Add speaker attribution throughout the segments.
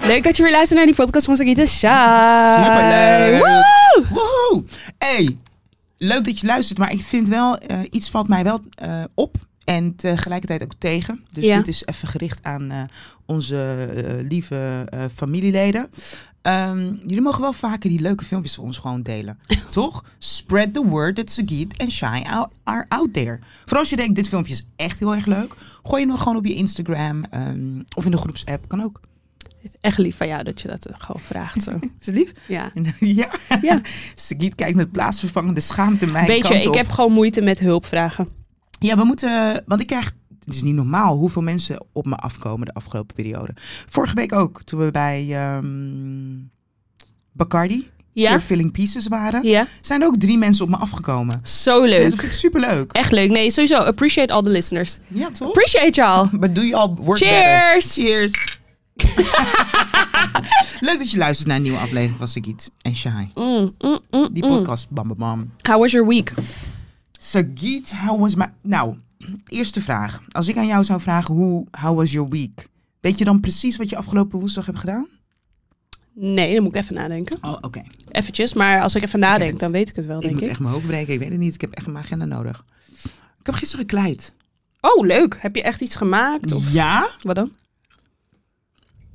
Speaker 1: Leuk dat je weer luistert naar die podcast van Sagita Shai.
Speaker 2: Superleuk.
Speaker 1: Woe!
Speaker 2: Woehoe! Hey, leuk dat je luistert, maar ik vind wel, eh, iets valt mij wel eh, op en tegelijkertijd ook tegen. Dus
Speaker 1: Ja.
Speaker 2: dit is even gericht aan eh, onze eh, lieve eh, familieleden. Ehm, jullie mogen wel vaker die leuke filmpjes voor ons gewoon delen. Toch? Spread the word that Sagit en Shai are- are out there. Vooral als je denkt, dit filmpje is echt heel erg leuk. Gooi hem gewoon op je Instagram ehm, of in de groepsapp. Kan ook.
Speaker 1: Echt lief van jou dat je dat eh, gewoon vraagt. Zo.
Speaker 2: Is het lief?
Speaker 1: Ja.
Speaker 2: Ja.
Speaker 1: Ja.
Speaker 2: Sagiet kijkt met plaatsvervangende schaamte mijn
Speaker 1: Weet je,
Speaker 2: kant
Speaker 1: ik
Speaker 2: op.
Speaker 1: heb gewoon moeite met hulpvragen.
Speaker 2: Ja, we moeten... Want ik krijg... Het is niet normaal hoeveel mensen op me afkomen de afgelopen periode. Vorige week ook, toen we bij ehm, Bacardi,
Speaker 1: Ja?
Speaker 2: voor Filling Pieces waren,
Speaker 1: Ja?
Speaker 2: zijn er ook drie mensen op me afgekomen.
Speaker 1: Zo
Speaker 2: Ja, dat
Speaker 1: leuk.
Speaker 2: vind ik superleuk.
Speaker 1: Echt leuk. Nee, sowieso. Appreciate all the listeners.
Speaker 2: Ja, toch?
Speaker 1: Appreciate y'all.
Speaker 2: But do you all work better?
Speaker 1: Cheers!
Speaker 2: Cheers! Leuk dat je luistert naar een nieuwe aflevering van Sagiet en Shai.
Speaker 1: Mm, mm, mm,
Speaker 2: Die
Speaker 1: mm.
Speaker 2: podcast, bam bam bam.
Speaker 1: How was your week?
Speaker 2: Sagiet, how was my... Nou, eerste vraag. Als ik aan jou zou vragen, hoe, how was your week? Weet je dan precies wat je afgelopen woensdag hebt gedaan?
Speaker 1: Nee, dan moet ik even nadenken.
Speaker 2: Oh, oké.
Speaker 1: Eventjes, maar als ik even nadenk,
Speaker 2: het.
Speaker 1: dan weet ik het wel,
Speaker 2: Ik
Speaker 1: denk
Speaker 2: moet
Speaker 1: ik.
Speaker 2: echt mijn hoofd breken. Ik weet het niet. Ik heb echt mijn agenda nodig. Ik heb gisteren gekleid.
Speaker 1: Oh, leuk. Heb je echt iets gemaakt? Of...
Speaker 2: Ja?
Speaker 1: Wat dan?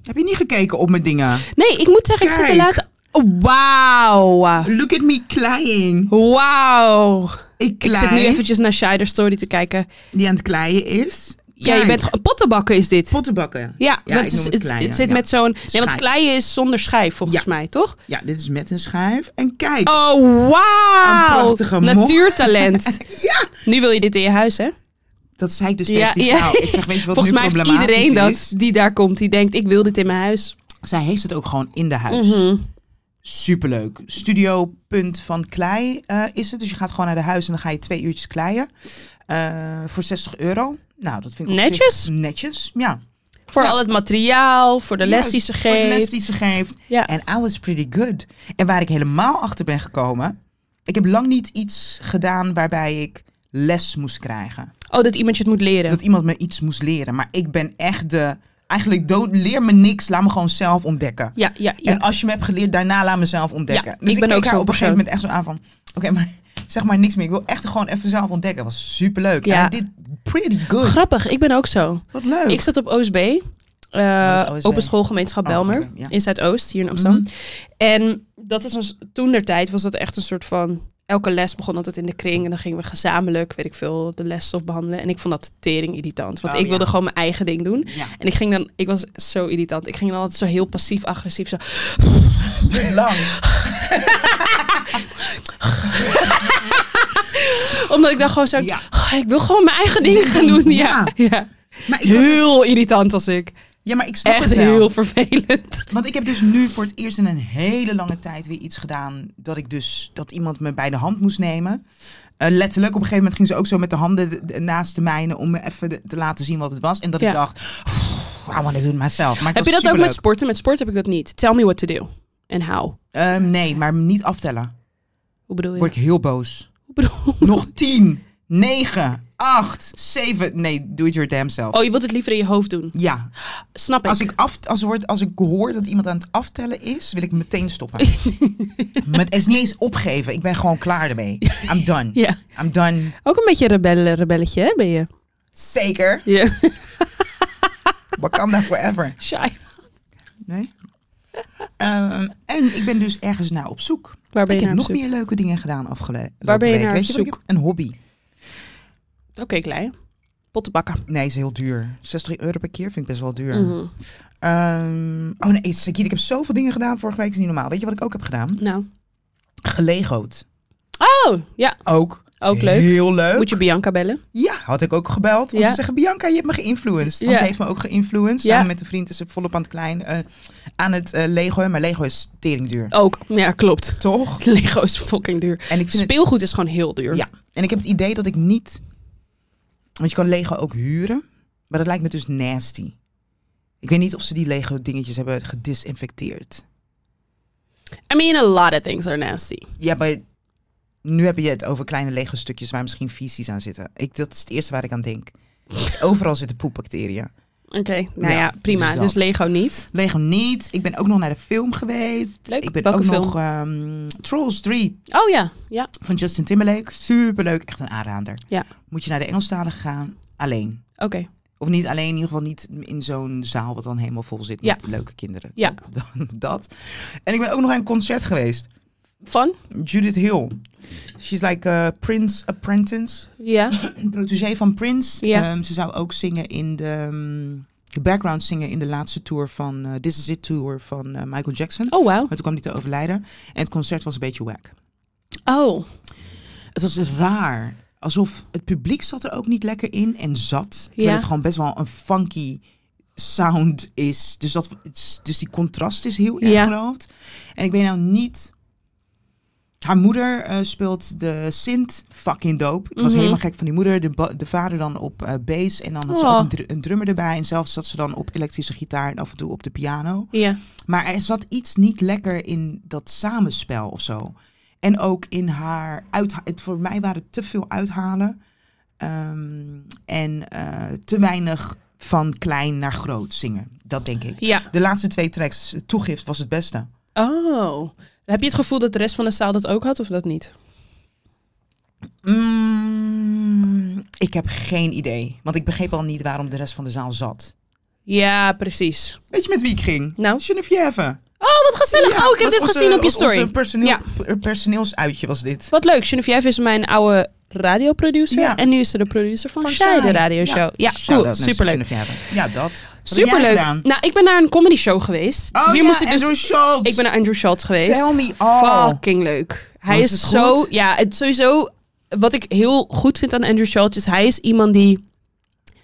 Speaker 2: Heb je niet gekeken op mijn dingen?
Speaker 1: Nee, ik moet zeggen, ik zit de
Speaker 2: Kijk.
Speaker 1: laatste... Oh, wauw.
Speaker 2: Look at me kleien.
Speaker 1: Wauw.
Speaker 2: Ik
Speaker 1: Ik
Speaker 2: klei.
Speaker 1: zit nu eventjes naar Shider Story te kijken.
Speaker 2: Die aan het kleien is.
Speaker 1: Ja, je
Speaker 2: Kijk,
Speaker 1: bent... ge- Pottenbakken is dit.
Speaker 2: Pottenbakken.
Speaker 1: ja,
Speaker 2: Ja,
Speaker 1: want
Speaker 2: ik
Speaker 1: het, is-
Speaker 2: noem het
Speaker 1: het-
Speaker 2: kleien,
Speaker 1: het zit
Speaker 2: ja.
Speaker 1: met zo'n... Nee, want
Speaker 2: Schijf.
Speaker 1: kleien is zonder schijf, volgens
Speaker 2: Ja.
Speaker 1: mij, toch?
Speaker 2: Ja, dit is met een schijf. En kijk.
Speaker 1: Oh,
Speaker 2: Een
Speaker 1: wauw.
Speaker 2: prachtige mo-
Speaker 1: Natuurtalent.
Speaker 2: Ja.
Speaker 1: nu wil je dit in je huis, hè?
Speaker 2: Dat zei ik dus tegen die vrouw. Ik zeg, weet je wat
Speaker 1: Volgens
Speaker 2: nu
Speaker 1: mij heeft
Speaker 2: problematisch
Speaker 1: iedereen
Speaker 2: is?
Speaker 1: dat die daar komt, die denkt, ik wil dit in mijn huis.
Speaker 2: Zij heeft het ook gewoon in de huis.
Speaker 1: Mhm.
Speaker 2: Superleuk. Studio Punt van Klei eh, is het. Dus je gaat gewoon naar de huis en dan ga je twee uurtjes kleien. Eh, voor 60 euro. Nou, dat vind ik op zich
Speaker 1: Netjes?
Speaker 2: netjes, ja.
Speaker 1: Voor
Speaker 2: Ja.
Speaker 1: al het materiaal, voor de les
Speaker 2: Juist,
Speaker 1: die ze
Speaker 2: voor de les
Speaker 1: geeft.
Speaker 2: die ze geeft.
Speaker 1: Ja.
Speaker 2: En I was pretty good. En waar ik helemaal achter ben gekomen... Ik heb lang niet iets gedaan waarbij ik les moest krijgen.
Speaker 1: Oh, dat iemand je het moet leren.
Speaker 2: Dat iemand me iets moest leren. Maar ik ben echt de... Eigenlijk dood, leer me niks, laat me gewoon zelf ontdekken.
Speaker 1: Ja, ja, ja.
Speaker 2: En als je me hebt geleerd, daarna laat mezelf ontdekken.
Speaker 1: Ja,
Speaker 2: dus
Speaker 1: ik
Speaker 2: ik
Speaker 1: ben
Speaker 2: keek
Speaker 1: ook
Speaker 2: haar
Speaker 1: zo'n
Speaker 2: op een gegeven
Speaker 1: persoon.
Speaker 2: moment echt zo aan van... Oké, maar zeg maar niks meer. Ik wil echt gewoon even zelf ontdekken. Dat was superleuk.
Speaker 1: Ja.
Speaker 2: En ik did pretty good.
Speaker 1: Grappig, ik ben ook zo.
Speaker 2: Wat leuk.
Speaker 1: Ik zat op OSB, eh,
Speaker 2: Wat is OSB?
Speaker 1: Open Schoolgemeenschap
Speaker 2: Oh,
Speaker 1: Belmer,
Speaker 2: oké, ja. Mhm.
Speaker 1: in Zuidoost, hier in Amsterdam. En dat is ons, toen der tijd was dat echt een soort van. Elke les begon altijd in de kring en dan gingen we gezamenlijk, weet ik veel, de lesstof behandelen. En ik vond dat tering irritant, want
Speaker 2: Oh,
Speaker 1: ik
Speaker 2: ja.
Speaker 1: wilde gewoon mijn eigen ding doen.
Speaker 2: Ja.
Speaker 1: En ik ging dan, ik was zo irritant. Ik ging dan altijd zo heel passief-agressief zo.
Speaker 2: Te lang.
Speaker 1: Omdat ik dan gewoon zo,
Speaker 2: Ja.
Speaker 1: "Oh, ik wil gewoon mijn eigen ding gaan doen. Ja, ja.
Speaker 2: Maar ik,
Speaker 1: Heel irritant als ik.
Speaker 2: ja, maar ik snap
Speaker 1: Echt
Speaker 2: het wel.
Speaker 1: heel vervelend.
Speaker 2: Want ik heb dus nu voor het eerst in een hele lange tijd weer iets gedaan. Dat ik dus dat iemand me bij de hand moest nemen. Eh, letterlijk, op een gegeven moment ging ze ook zo met de handen de- de- naast de mijne. Om me even de- te laten zien wat het was. En dat
Speaker 1: Ja.
Speaker 2: ik dacht, "Pff, I want to do it myself. Maar het
Speaker 1: Heb je
Speaker 2: was
Speaker 1: dat ook met
Speaker 2: superleuk.
Speaker 1: sporten? Met sport heb ik dat niet. Tell me what to do. En how.
Speaker 2: Ehm, nee, maar niet aftellen.
Speaker 1: Hoe bedoel je?
Speaker 2: Word ik heel boos.
Speaker 1: Hoe bedoel-
Speaker 2: Nog 10, 9, 8, 7. Nee, do it your damn self.
Speaker 1: Oh, je wilt het liever in je hoofd doen.
Speaker 2: Ja,
Speaker 1: Snap ik.
Speaker 2: als ik, af, als, word, als ik hoor dat iemand aan het aftellen is, wil ik meteen stoppen. Maar het is niet eens opgeven. Ik ben gewoon klaar ermee. I'm done.
Speaker 1: Ja.
Speaker 2: I'm done.
Speaker 1: Ook een beetje rebelle, rebelletje, hè, ben je?
Speaker 2: Zeker.
Speaker 1: Ja.
Speaker 2: Wakanda forever.
Speaker 1: Shy.
Speaker 2: Nee? Ehm, en ik ben dus ergens naar op zoek.
Speaker 1: Waar ben
Speaker 2: ik
Speaker 1: je
Speaker 2: heb
Speaker 1: naar op
Speaker 2: nog
Speaker 1: zoek?
Speaker 2: meer leuke dingen gedaan afgelopen
Speaker 1: Waar ben je
Speaker 2: week.
Speaker 1: naar
Speaker 2: Weet
Speaker 1: op
Speaker 2: je wat ik
Speaker 1: zoek?
Speaker 2: heb? Een hobby.
Speaker 1: Oké, klein. Potten bakken.
Speaker 2: Nee, is heel duur. 60 euro per keer vind ik best wel duur.
Speaker 1: Mhm.
Speaker 2: Ehm, oh nee, Sakiet, ik heb zoveel dingen gedaan vorige week, is niet normaal. Weet je wat ik ook heb gedaan?
Speaker 1: Nou.
Speaker 2: Gelegoot.
Speaker 1: Oh, ja.
Speaker 2: Ook.
Speaker 1: Ook leuk.
Speaker 2: Heel leuk.
Speaker 1: Moet je Bianca bellen?
Speaker 2: Ja, had ik ook gebeld om
Speaker 1: Ja.
Speaker 2: te zeggen, Bianca, je hebt me geïnfluenced. Want
Speaker 1: Ja.
Speaker 2: ze heeft me ook geïnfluenced.
Speaker 1: Ja.
Speaker 2: Samen met een vriend is ze volop aan het klein, eh, aan het eh, Lego. Maar Lego is teringduur.
Speaker 1: Ook. Ja, klopt.
Speaker 2: Toch?
Speaker 1: Lego is fucking duur.
Speaker 2: En ik, vind het,
Speaker 1: Speelgoed is gewoon heel duur.
Speaker 2: Ja. en ik heb het idee dat ik niet... Want je kan Lego ook huren, maar dat lijkt me dus nasty. Ik weet niet of ze die Lego dingetjes hebben gedisinfecteerd.
Speaker 1: I mean, a lot of things are nasty.
Speaker 2: Ja, maar nu heb je het over kleine lege stukjes waar misschien visies aan zitten. Ik, dat is het eerste waar ik aan denk. Overal zitten poepbacteriën.
Speaker 1: Oké, nou ja,
Speaker 2: Ja,
Speaker 1: prima.
Speaker 2: dus
Speaker 1: Dus,
Speaker 2: dat.
Speaker 1: Lego niet.
Speaker 2: Lego niet. Ik ben ook nog naar de film geweest.
Speaker 1: Leuk.
Speaker 2: Ik ben
Speaker 1: Welke
Speaker 2: ook
Speaker 1: film?
Speaker 2: nog ehm, Trolls 3
Speaker 1: Oh ja, ja.
Speaker 2: van Justin Timberlake. Superleuk, echt een aanrader.
Speaker 1: Ja.
Speaker 2: Moet je naar de Engelstalige gaan, alleen.
Speaker 1: Oké.
Speaker 2: Of niet alleen, in ieder geval niet in zo'n zaal wat dan helemaal vol zit met leuke kinderen.
Speaker 1: Ja.
Speaker 2: Dat, dat. En ik ben ook nog naar een concert geweest.
Speaker 1: Van?
Speaker 2: Judith Hill. She's like a Prince Apprentice.
Speaker 1: Ja.
Speaker 2: Een protégé van Prince.
Speaker 1: Ja.
Speaker 2: Ehm, ze zou ook zingen in de, ehm, de background zingen in de laatste tour van eh, This Is It Tour van eh, Michael Jackson.
Speaker 1: Oh, wauw.
Speaker 2: Maar toen kwam hij te overlijden. En het concert was een beetje wack.
Speaker 1: Oh,
Speaker 2: Het was raar. Alsof het publiek zat er ook niet lekker in en zat. Terwijl
Speaker 1: Ja.
Speaker 2: het gewoon best wel een funky sound is. Dus, dat, dus die contrast is heel erg
Speaker 1: Ja.
Speaker 2: groot. En ik weet nou niet... Haar moeder eh, speelt de Sint fucking dope. Ik was
Speaker 1: Mhm.
Speaker 2: helemaal gek van die moeder. De, ba- de vader dan op eh bass. En dan had ze
Speaker 1: Oh.
Speaker 2: ook een, dru- een drummer erbij. En zelf zat ze dan op elektrische gitaar en af en toe op de piano.
Speaker 1: ja.
Speaker 2: Maar er zat iets niet lekker in dat samenspel of zo. En ook in haar uitha- het Voor mij waren het te veel uithalen. ehm, en eh, te weinig van klein naar groot zingen. Dat denk ik.
Speaker 1: Ja.
Speaker 2: De laatste twee tracks, toegift, was het beste.
Speaker 1: Oh. Heb je het gevoel dat de rest van de zaal dat ook had of dat niet?
Speaker 2: Mm, ik heb geen idee. Want ik begreep al niet waarom de rest van de zaal zat.
Speaker 1: Ja, precies.
Speaker 2: Weet je met wie ik ging?
Speaker 1: Nou.
Speaker 2: Geneviève.
Speaker 1: Oh, wat gezellig. oh, ik heb
Speaker 2: was
Speaker 1: dit
Speaker 2: onze-
Speaker 1: gezien op je
Speaker 2: was
Speaker 1: story.
Speaker 2: Onze personeel,
Speaker 1: Ja.
Speaker 2: per- personeelsuitje was dit.
Speaker 1: Wat leuk. Geneviève is mijn oude radioproducer.
Speaker 2: Ja.
Speaker 1: En nu is ze de producer van,
Speaker 2: Van
Speaker 1: Shai, de
Speaker 2: Shai.
Speaker 1: radioshow. Ja, cool.
Speaker 2: Shout-out naar
Speaker 1: Superleuk.
Speaker 2: Susanne Verhagen. Ja, dat. Wat heb jij
Speaker 1: Superleuk.
Speaker 2: gedaan?
Speaker 1: Nou, ik ben naar een comedy show geweest.
Speaker 2: Oh
Speaker 1: Hier
Speaker 2: ja,
Speaker 1: moest ik dus
Speaker 2: Andrew Schultz. Nou,
Speaker 1: Ik ben naar Andrew Schultz geweest.
Speaker 2: Tell me all.
Speaker 1: Fucking leuk. Hij
Speaker 2: Was
Speaker 1: is
Speaker 2: het
Speaker 1: zo...
Speaker 2: goed?
Speaker 1: Ja, het sowieso... Wat ik heel goed vind aan Andrew Schultz is... Hij is iemand die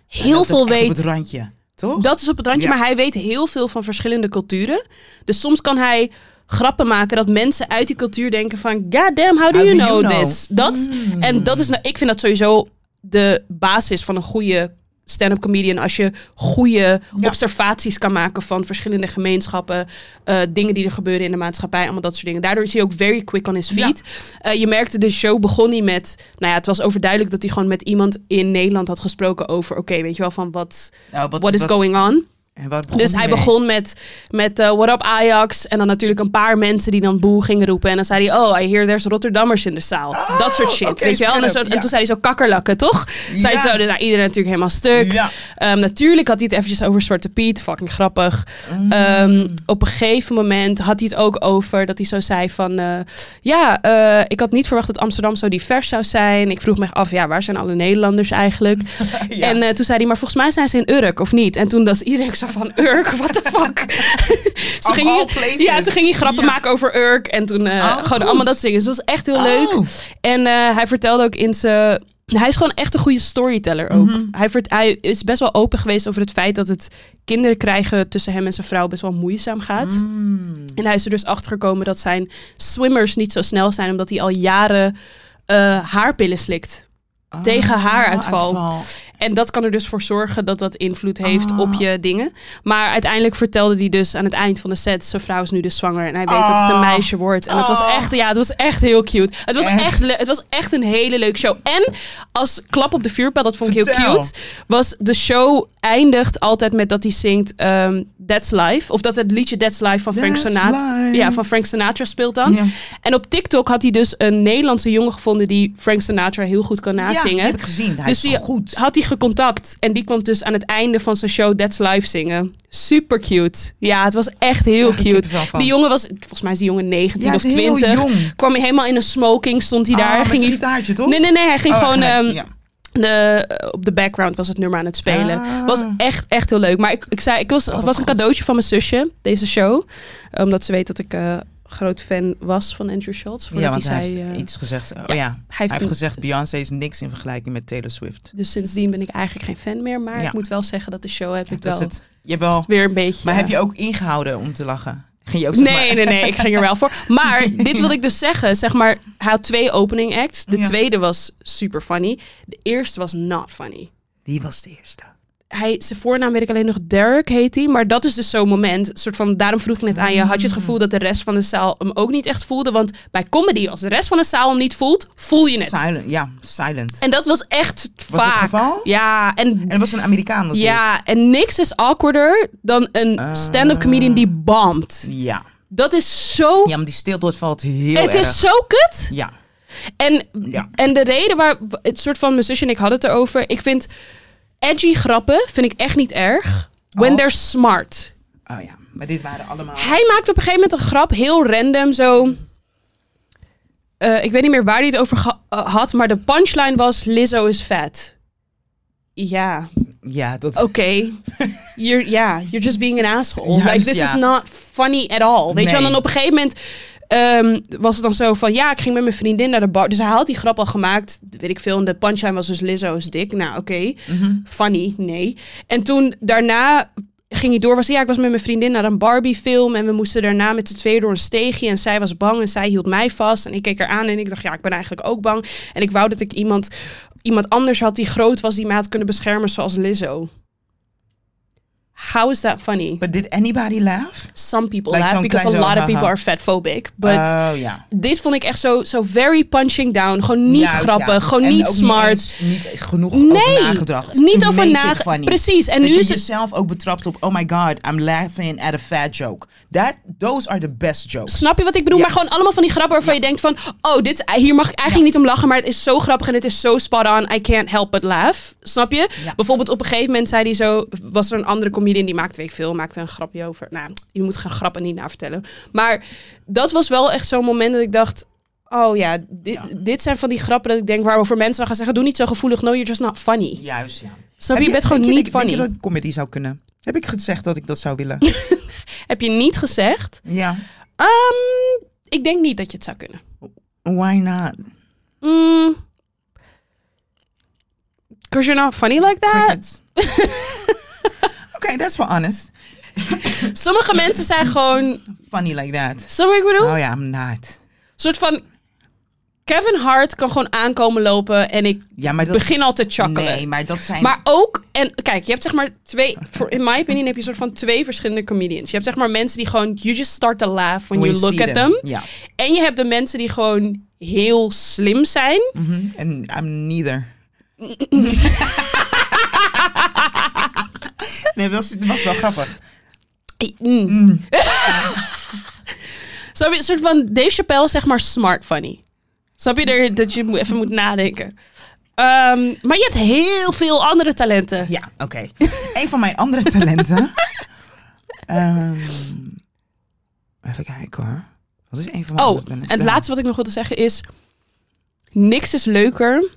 Speaker 2: Ja,
Speaker 1: heel
Speaker 2: dat
Speaker 1: veel
Speaker 2: is echt
Speaker 1: weet...
Speaker 2: op het randje, toch?
Speaker 1: Dat is op het randje,
Speaker 2: Ja.
Speaker 1: maar hij weet heel veel van verschillende culturen. Dus soms kan hij grappen maken dat mensen uit die cultuur denken van... God damn, how do, you, know this? Dat, En dat is, nou- ik vind dat sowieso de basis van een goede stand-up comedian. Als je goede
Speaker 2: Ja.
Speaker 1: observaties kan maken van verschillende gemeenschappen. eh, dingen die er gebeuren in de maatschappij, allemaal dat soort dingen. Daardoor is hij ook very quick on his feet. Eh, je merkte, de show begon niet met... Nou ja, het was overduidelijk dat hij gewoon met iemand in Nederland had gesproken over... Oké, weet je wel, van wat...
Speaker 2: Nou, wat,
Speaker 1: What is
Speaker 2: wat-
Speaker 1: going on?
Speaker 2: en waar begon
Speaker 1: Dus hij
Speaker 2: mee?
Speaker 1: begon met, met eh, What up Ajax? En dan natuurlijk een paar mensen die dan boe gingen roepen. En dan zei hij, oh, I hear there's Rotterdammers in de zaal. dat soort shit,
Speaker 2: Ah, oké,
Speaker 1: weet je wel? En, dan zo-
Speaker 2: scherp,
Speaker 1: en
Speaker 2: ja.
Speaker 1: toen zei hij zo kakkerlakken, toch? Zei hij
Speaker 2: Ja.
Speaker 1: zo, nou, iedereen natuurlijk helemaal stuk.
Speaker 2: Ja.
Speaker 1: Ehm, natuurlijk had hij het eventjes over Zwarte Piet, fucking grappig.
Speaker 2: Mm.
Speaker 1: Ehm, op een gegeven moment had hij het ook over dat hij zo zei van... eh, ja, eh, ik had niet verwacht dat Amsterdam zo divers zou zijn. Ik vroeg me af, ja, waar zijn alle Nederlanders eigenlijk?
Speaker 2: Ja.
Speaker 1: En eh, toen zei hij, maar volgens mij zijn ze in Urk, of niet? En toen was iedereen zo van, Urk, what the fuck? Ze
Speaker 2: Of
Speaker 1: gingen
Speaker 2: all places.
Speaker 1: ja, toen ging hij grappen
Speaker 2: Ja.
Speaker 1: maken over Urk. En toen eh,
Speaker 2: Oh,
Speaker 1: gewoon
Speaker 2: goed.
Speaker 1: allemaal dat zingen. Dus dat was echt heel leuk.
Speaker 2: Oh.
Speaker 1: En eh, hij vertelde ook in zijn... Hij is gewoon echt een goede storyteller ook.
Speaker 2: Mhm.
Speaker 1: hij, vert, hij is best wel open geweest over het feit dat het kinderen krijgen tussen hem en zijn vrouw best wel moeizaam gaat.
Speaker 2: Mm.
Speaker 1: En hij is er dus achter gekomen dat zijn swimmers niet zo snel zijn, omdat hij al jaren eh, haarpillen slikt.
Speaker 2: Ah,
Speaker 1: tegen haaruitval.
Speaker 2: haaruitval.
Speaker 1: En dat kan er dus voor zorgen dat dat invloed heeft
Speaker 2: Ah.
Speaker 1: op je dingen. Maar uiteindelijk vertelde hij dus aan het eind van de set... zijn vrouw is nu dus zwanger en hij weet dat het een
Speaker 2: Ah.
Speaker 1: meisje wordt. En het was
Speaker 2: Ah.
Speaker 1: echt, ja, het was echt heel cute. Het was echt,
Speaker 2: Echt?
Speaker 1: le- het was echt een hele leuke show. En als klap op de vuurpijl, dat vond ik heel
Speaker 2: Vertel.
Speaker 1: cute... was de show eindigt altijd met dat hij zingt ehm, That's Life. Of dat het liedje That's Life van Frank
Speaker 2: That's
Speaker 1: Sinatra...
Speaker 2: life.
Speaker 1: Ja, van Frank Sinatra speelt dan.
Speaker 2: Ja.
Speaker 1: En op TikTok had hij dus een Nederlandse jongen gevonden... die Frank Sinatra heel goed kan
Speaker 2: Ja,
Speaker 1: nazingen.
Speaker 2: die heb ik gezien. Hij
Speaker 1: Dus
Speaker 2: is
Speaker 1: die-
Speaker 2: goed.
Speaker 1: Had hij gecontact. En die kwam dus aan het einde van zijn show That's Live zingen. Super cute. Ja, het was echt heel
Speaker 2: Krijg ik
Speaker 1: cute.
Speaker 2: kippenvel van.
Speaker 1: Die jongen was, volgens mij is die jongen 19
Speaker 2: Ja,
Speaker 1: of
Speaker 2: hij is heel
Speaker 1: 20.
Speaker 2: jong.
Speaker 1: Kwam hij helemaal in een smoking, stond hij
Speaker 2: Ah,
Speaker 1: daar.
Speaker 2: met
Speaker 1: ging
Speaker 2: zijn
Speaker 1: hij...
Speaker 2: gitaartje, toch?
Speaker 1: Nee, nee, nee. Hij ging
Speaker 2: Oh,
Speaker 1: gewoon
Speaker 2: gelijk,
Speaker 1: ehm,
Speaker 2: ja.
Speaker 1: de, op de background was het nummer aan het spelen.
Speaker 2: Ah. Oh,
Speaker 1: Was echt, echt heel leuk. Maar ik, ik zei, ik was, het was een
Speaker 2: goed.
Speaker 1: cadeautje van mijn zusje, deze show. Omdat ze weet dat ik eh, groot fan was van Andrew Schultz.
Speaker 2: Ja,
Speaker 1: Voordat
Speaker 2: want hij
Speaker 1: hij
Speaker 2: heeft
Speaker 1: zei... eh,
Speaker 2: iets gezegd. Oh,
Speaker 1: ja,
Speaker 2: ja.
Speaker 1: hij heeft
Speaker 2: Hij
Speaker 1: een-
Speaker 2: heeft gezegd, Beyoncé is niks in vergelijking met Taylor Swift.
Speaker 1: dus sindsdien ben ik eigenlijk geen fan meer. Maar
Speaker 2: Ja.
Speaker 1: ik moet wel zeggen dat de show heb ik
Speaker 2: Dus Dat
Speaker 1: wel...
Speaker 2: is het.
Speaker 1: is
Speaker 2: Jawel.
Speaker 1: het weer een beetje... eh,
Speaker 2: Maar heb je ook ingehouden om te lachen? Ging je ook zeg
Speaker 1: Nee,
Speaker 2: maar-
Speaker 1: nee, nee, ik ging er wel voor. Maar dit wil ik dus zeggen. Zeg maar, hij had twee opening acts. De
Speaker 2: Ja.
Speaker 1: tweede was super funny. De eerste was not funny.
Speaker 2: Wie was de eerste?
Speaker 1: hij, zijn voornaam weet ik alleen nog, Derek heet hij. Maar dat is dus zo'n moment. Soort van, daarom vroeg ik net aan je, had
Speaker 2: Mm.
Speaker 1: je het gevoel dat de rest van de zaal hem ook niet echt voelde? Want bij comedy, als de rest van de zaal hem niet voelt, voel je het.
Speaker 2: Silent, ja, silent.
Speaker 1: En dat was echt
Speaker 2: Was
Speaker 1: vaak.
Speaker 2: het geval?
Speaker 1: Ja, en,
Speaker 2: En het was een Amerikaan, was het? Ah.
Speaker 1: ja, en niks is awkwarder dan een stand-up comedian die bombt.
Speaker 2: Ja.
Speaker 1: Dat is zo...
Speaker 2: Ja, maar die stilte valt heel
Speaker 1: het
Speaker 2: erg.
Speaker 1: is zo kut.
Speaker 2: Ja.
Speaker 1: En,
Speaker 2: Ja.
Speaker 1: en de reden waar het soort van mijn zusje en ik hadden het erover. Ik vind edgy grappen vind ik echt niet erg. When
Speaker 2: Als?
Speaker 1: they're smart.
Speaker 2: Oh ja, maar dit waren allemaal...
Speaker 1: Hij maakt op een gegeven moment een grap heel random zo. Eh, ik weet niet meer waar hij het over geha- eh, had, maar de punchline was Lizzo is vet. Ja,
Speaker 2: Ja, dat...
Speaker 1: oké. You're, yeah, you're just being an asshole.
Speaker 2: Juist,
Speaker 1: like, this
Speaker 2: ja.
Speaker 1: is not funny at all. Weet je, en
Speaker 2: Nee.
Speaker 1: dan op een gegeven moment ehm, was het dan zo van... Ja, ik ging met mijn vriendin naar de bar. Dus hij had die grap al gemaakt, weet ik veel. En de punchline was dus Lizzo is dik. Nou, oké.
Speaker 2: Mhm.
Speaker 1: Funny, nee. En toen daarna ging hij door. Was, hij, ja, ik was met mijn vriendin naar een Barbie film. En we moesten daarna met z'n tweeën door een steegje. En zij was bang en zij hield mij vast. En ik keek haar aan en ik dacht, ja, ik ben eigenlijk ook bang. En ik wou dat ik iemand, iemand anders had die groot was... die mij had kunnen beschermen zoals Lizzo. How is that funny?
Speaker 2: But did anybody laugh?
Speaker 1: Some people
Speaker 2: Like
Speaker 1: laugh
Speaker 2: zo'n
Speaker 1: because a
Speaker 2: klein zo,
Speaker 1: lot of
Speaker 2: haha.
Speaker 1: people are fatphobic. But
Speaker 2: oh ja.
Speaker 1: dit vond ik echt zo, zo very punching down. Gewoon niet
Speaker 2: Juist,
Speaker 1: grappig,
Speaker 2: ja.
Speaker 1: gewoon
Speaker 2: En
Speaker 1: niet
Speaker 2: ook
Speaker 1: smart.
Speaker 2: eens- Niet, genoeg
Speaker 1: nee,
Speaker 2: over nagedacht.
Speaker 1: niet
Speaker 2: To
Speaker 1: over
Speaker 2: make it
Speaker 1: nagedacht.
Speaker 2: funny.
Speaker 1: Precies, en
Speaker 2: dat
Speaker 1: nu
Speaker 2: je
Speaker 1: is het
Speaker 2: jezelf ook betrapt op, oh my god, I'm laughing at a fat joke. That, those are the best jokes.
Speaker 1: Snap je wat ik bedoel?
Speaker 2: Ja.
Speaker 1: Maar gewoon allemaal van die grappen waarvan je denkt van... Oh, dit, is- hier mag ik eigenlijk niet om lachen, maar het is zo grappig en het is zo spot on. I can't help but laugh. Snap je?
Speaker 2: Ja.
Speaker 1: Bijvoorbeeld op een gegeven moment zei hij zo... Was er een andere comedian die maakte, weet ik veel, maakte een grapje over... Nou, je moet gaan grappen niet naar vertellen. Maar dat was wel echt zo'n moment dat ik dacht... Oh ja dit, dit zijn van die grappen dat ik denk waarover mensen dan gaan zeggen... Doe niet zo gevoelig, no, you're just not funny.
Speaker 2: Juist, ja.
Speaker 1: Snap je?
Speaker 2: Heb
Speaker 1: Je bent gewoon
Speaker 2: denk
Speaker 1: niet
Speaker 2: denk je
Speaker 1: funny.
Speaker 2: dat ik comedy zou kunnen? Heb ik gezegd dat ik dat zou willen?
Speaker 1: Heb je niet gezegd?
Speaker 2: ja.
Speaker 1: Ehm, ik denk niet dat je het zou kunnen.
Speaker 2: Why not?
Speaker 1: Mm. Cause you're not funny like that.
Speaker 2: Crickets. Oké, that's for honest.
Speaker 1: Sommige mensen zijn gewoon.
Speaker 2: Funny like that.
Speaker 1: Snap je wat ik bedoel?
Speaker 2: Oh ja, I'm not.
Speaker 1: soort van. Kevin Hart kan gewoon aankomen lopen en ik
Speaker 2: Ja, maar dat
Speaker 1: begin
Speaker 2: is-
Speaker 1: al te chakkelen.
Speaker 2: Nee, maar dat zijn...
Speaker 1: Maar ook, en kijk, je hebt zeg maar twee, voor, in my opinion heb je soort van twee verschillende comedians. Je hebt zeg maar mensen die gewoon, you just start to laugh when,
Speaker 2: When
Speaker 1: you
Speaker 2: you
Speaker 1: look
Speaker 2: see
Speaker 1: at them.
Speaker 2: them. Ja.
Speaker 1: En je hebt de mensen die gewoon heel slim zijn.
Speaker 2: mhm. En I'm neither. nee, dat was, dat was wel grappig.
Speaker 1: Mm. Snap je, een soort van Dave Chappelle is zeg maar smart funny. Snap je er, dat je moet- even moet nadenken. Ehm, maar je hebt heel veel andere talenten.
Speaker 2: Ja, oké. Een van mijn andere talenten. Ehm, even kijken hoor. Wat is een van mijn
Speaker 1: Oh,
Speaker 2: andere
Speaker 1: en
Speaker 2: talenten?
Speaker 1: het laatste wat ik nog wilde zeggen is... Niks is leuker